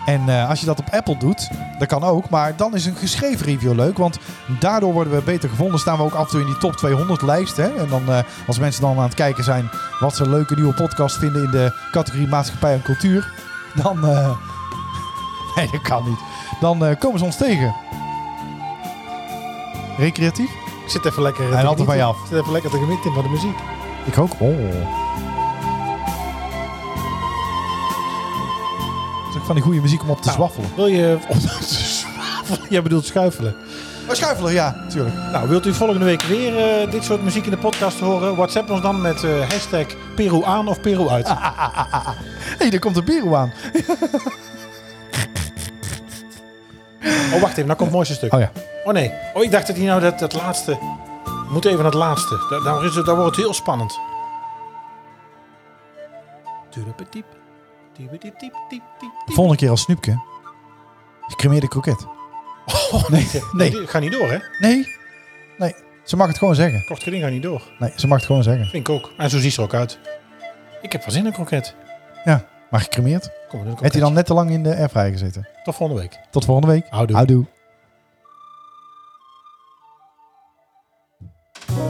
[SPEAKER 3] En eh, als je dat op Apple doet, dat kan ook. Maar dan is een geschreven review leuk, want daardoor worden we beter gevonden. Staan we ook af en toe in die top 200 lijst. Hè? En dan, eh, als mensen dan aan het kijken zijn wat ze een leuke nieuwe podcast vinden in de categorie maatschappij en cultuur, dan... eh, Nee, dat kan niet. Dan eh, komen ze ons tegen. Recreatief?
[SPEAKER 2] Ik zit even lekker...
[SPEAKER 3] Hij
[SPEAKER 2] te
[SPEAKER 3] had er van je
[SPEAKER 2] genieten.
[SPEAKER 3] af.
[SPEAKER 2] Ik zit even lekker te genieten van de muziek.
[SPEAKER 3] Ik ook. Oh. Zeg van die goede muziek om op te
[SPEAKER 2] Nou.
[SPEAKER 3] zwaffelen.
[SPEAKER 2] Wil je... Oh, dat is zwavel. Jij bedoelt schuifelen.
[SPEAKER 3] Oh, schuifelen, ja, tuurlijk.
[SPEAKER 2] Nou, wilt u volgende week weer eh, dit soort muziek in de podcast horen? WhatsApp ons dan met eh, hashtag Peru aan of Peru uit.
[SPEAKER 3] Hé, hey, daar komt een bier aan.
[SPEAKER 2] Oh, wacht even. Nou komt het mooiste stuk.
[SPEAKER 3] Oh ja.
[SPEAKER 2] Oh nee. Oh, ik dacht dat hij nou dat, dat laatste... We moeten even naar het laatste. Da- Daar, is het, daar wordt het heel spannend. Tuurlijk,
[SPEAKER 3] Volgende keer als snoepje. Gecremeerde kroket. Oh, nee, nee,
[SPEAKER 2] Ga niet door, hè?
[SPEAKER 3] nee. Nee, ze mag het gewoon zeggen.
[SPEAKER 2] Kort geding gaat niet door.
[SPEAKER 3] Nee, ze mag het gewoon zeggen.
[SPEAKER 2] Vind ik ook. En zo ziet ze er ook uit. Ik heb wel zin in een kroket.
[SPEAKER 3] Ja, maar gecremeerd.
[SPEAKER 2] Kom, we doen een
[SPEAKER 3] Heeft
[SPEAKER 2] kroketje.
[SPEAKER 3] hij dan net te lang in de airfryer gezeten.
[SPEAKER 2] Tot volgende week.
[SPEAKER 3] Tot volgende week.
[SPEAKER 2] Houdoe.
[SPEAKER 3] Houdoe.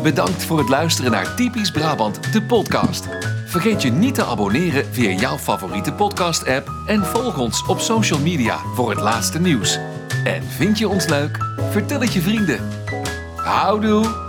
[SPEAKER 1] Bedankt voor het luisteren naar Typisch Brabant, de podcast. Vergeet je niet te abonneren via jouw favoriete podcast-app en volg ons op social media voor het laatste nieuws. En vind je ons leuk? Vertel het je vrienden. Houdoe!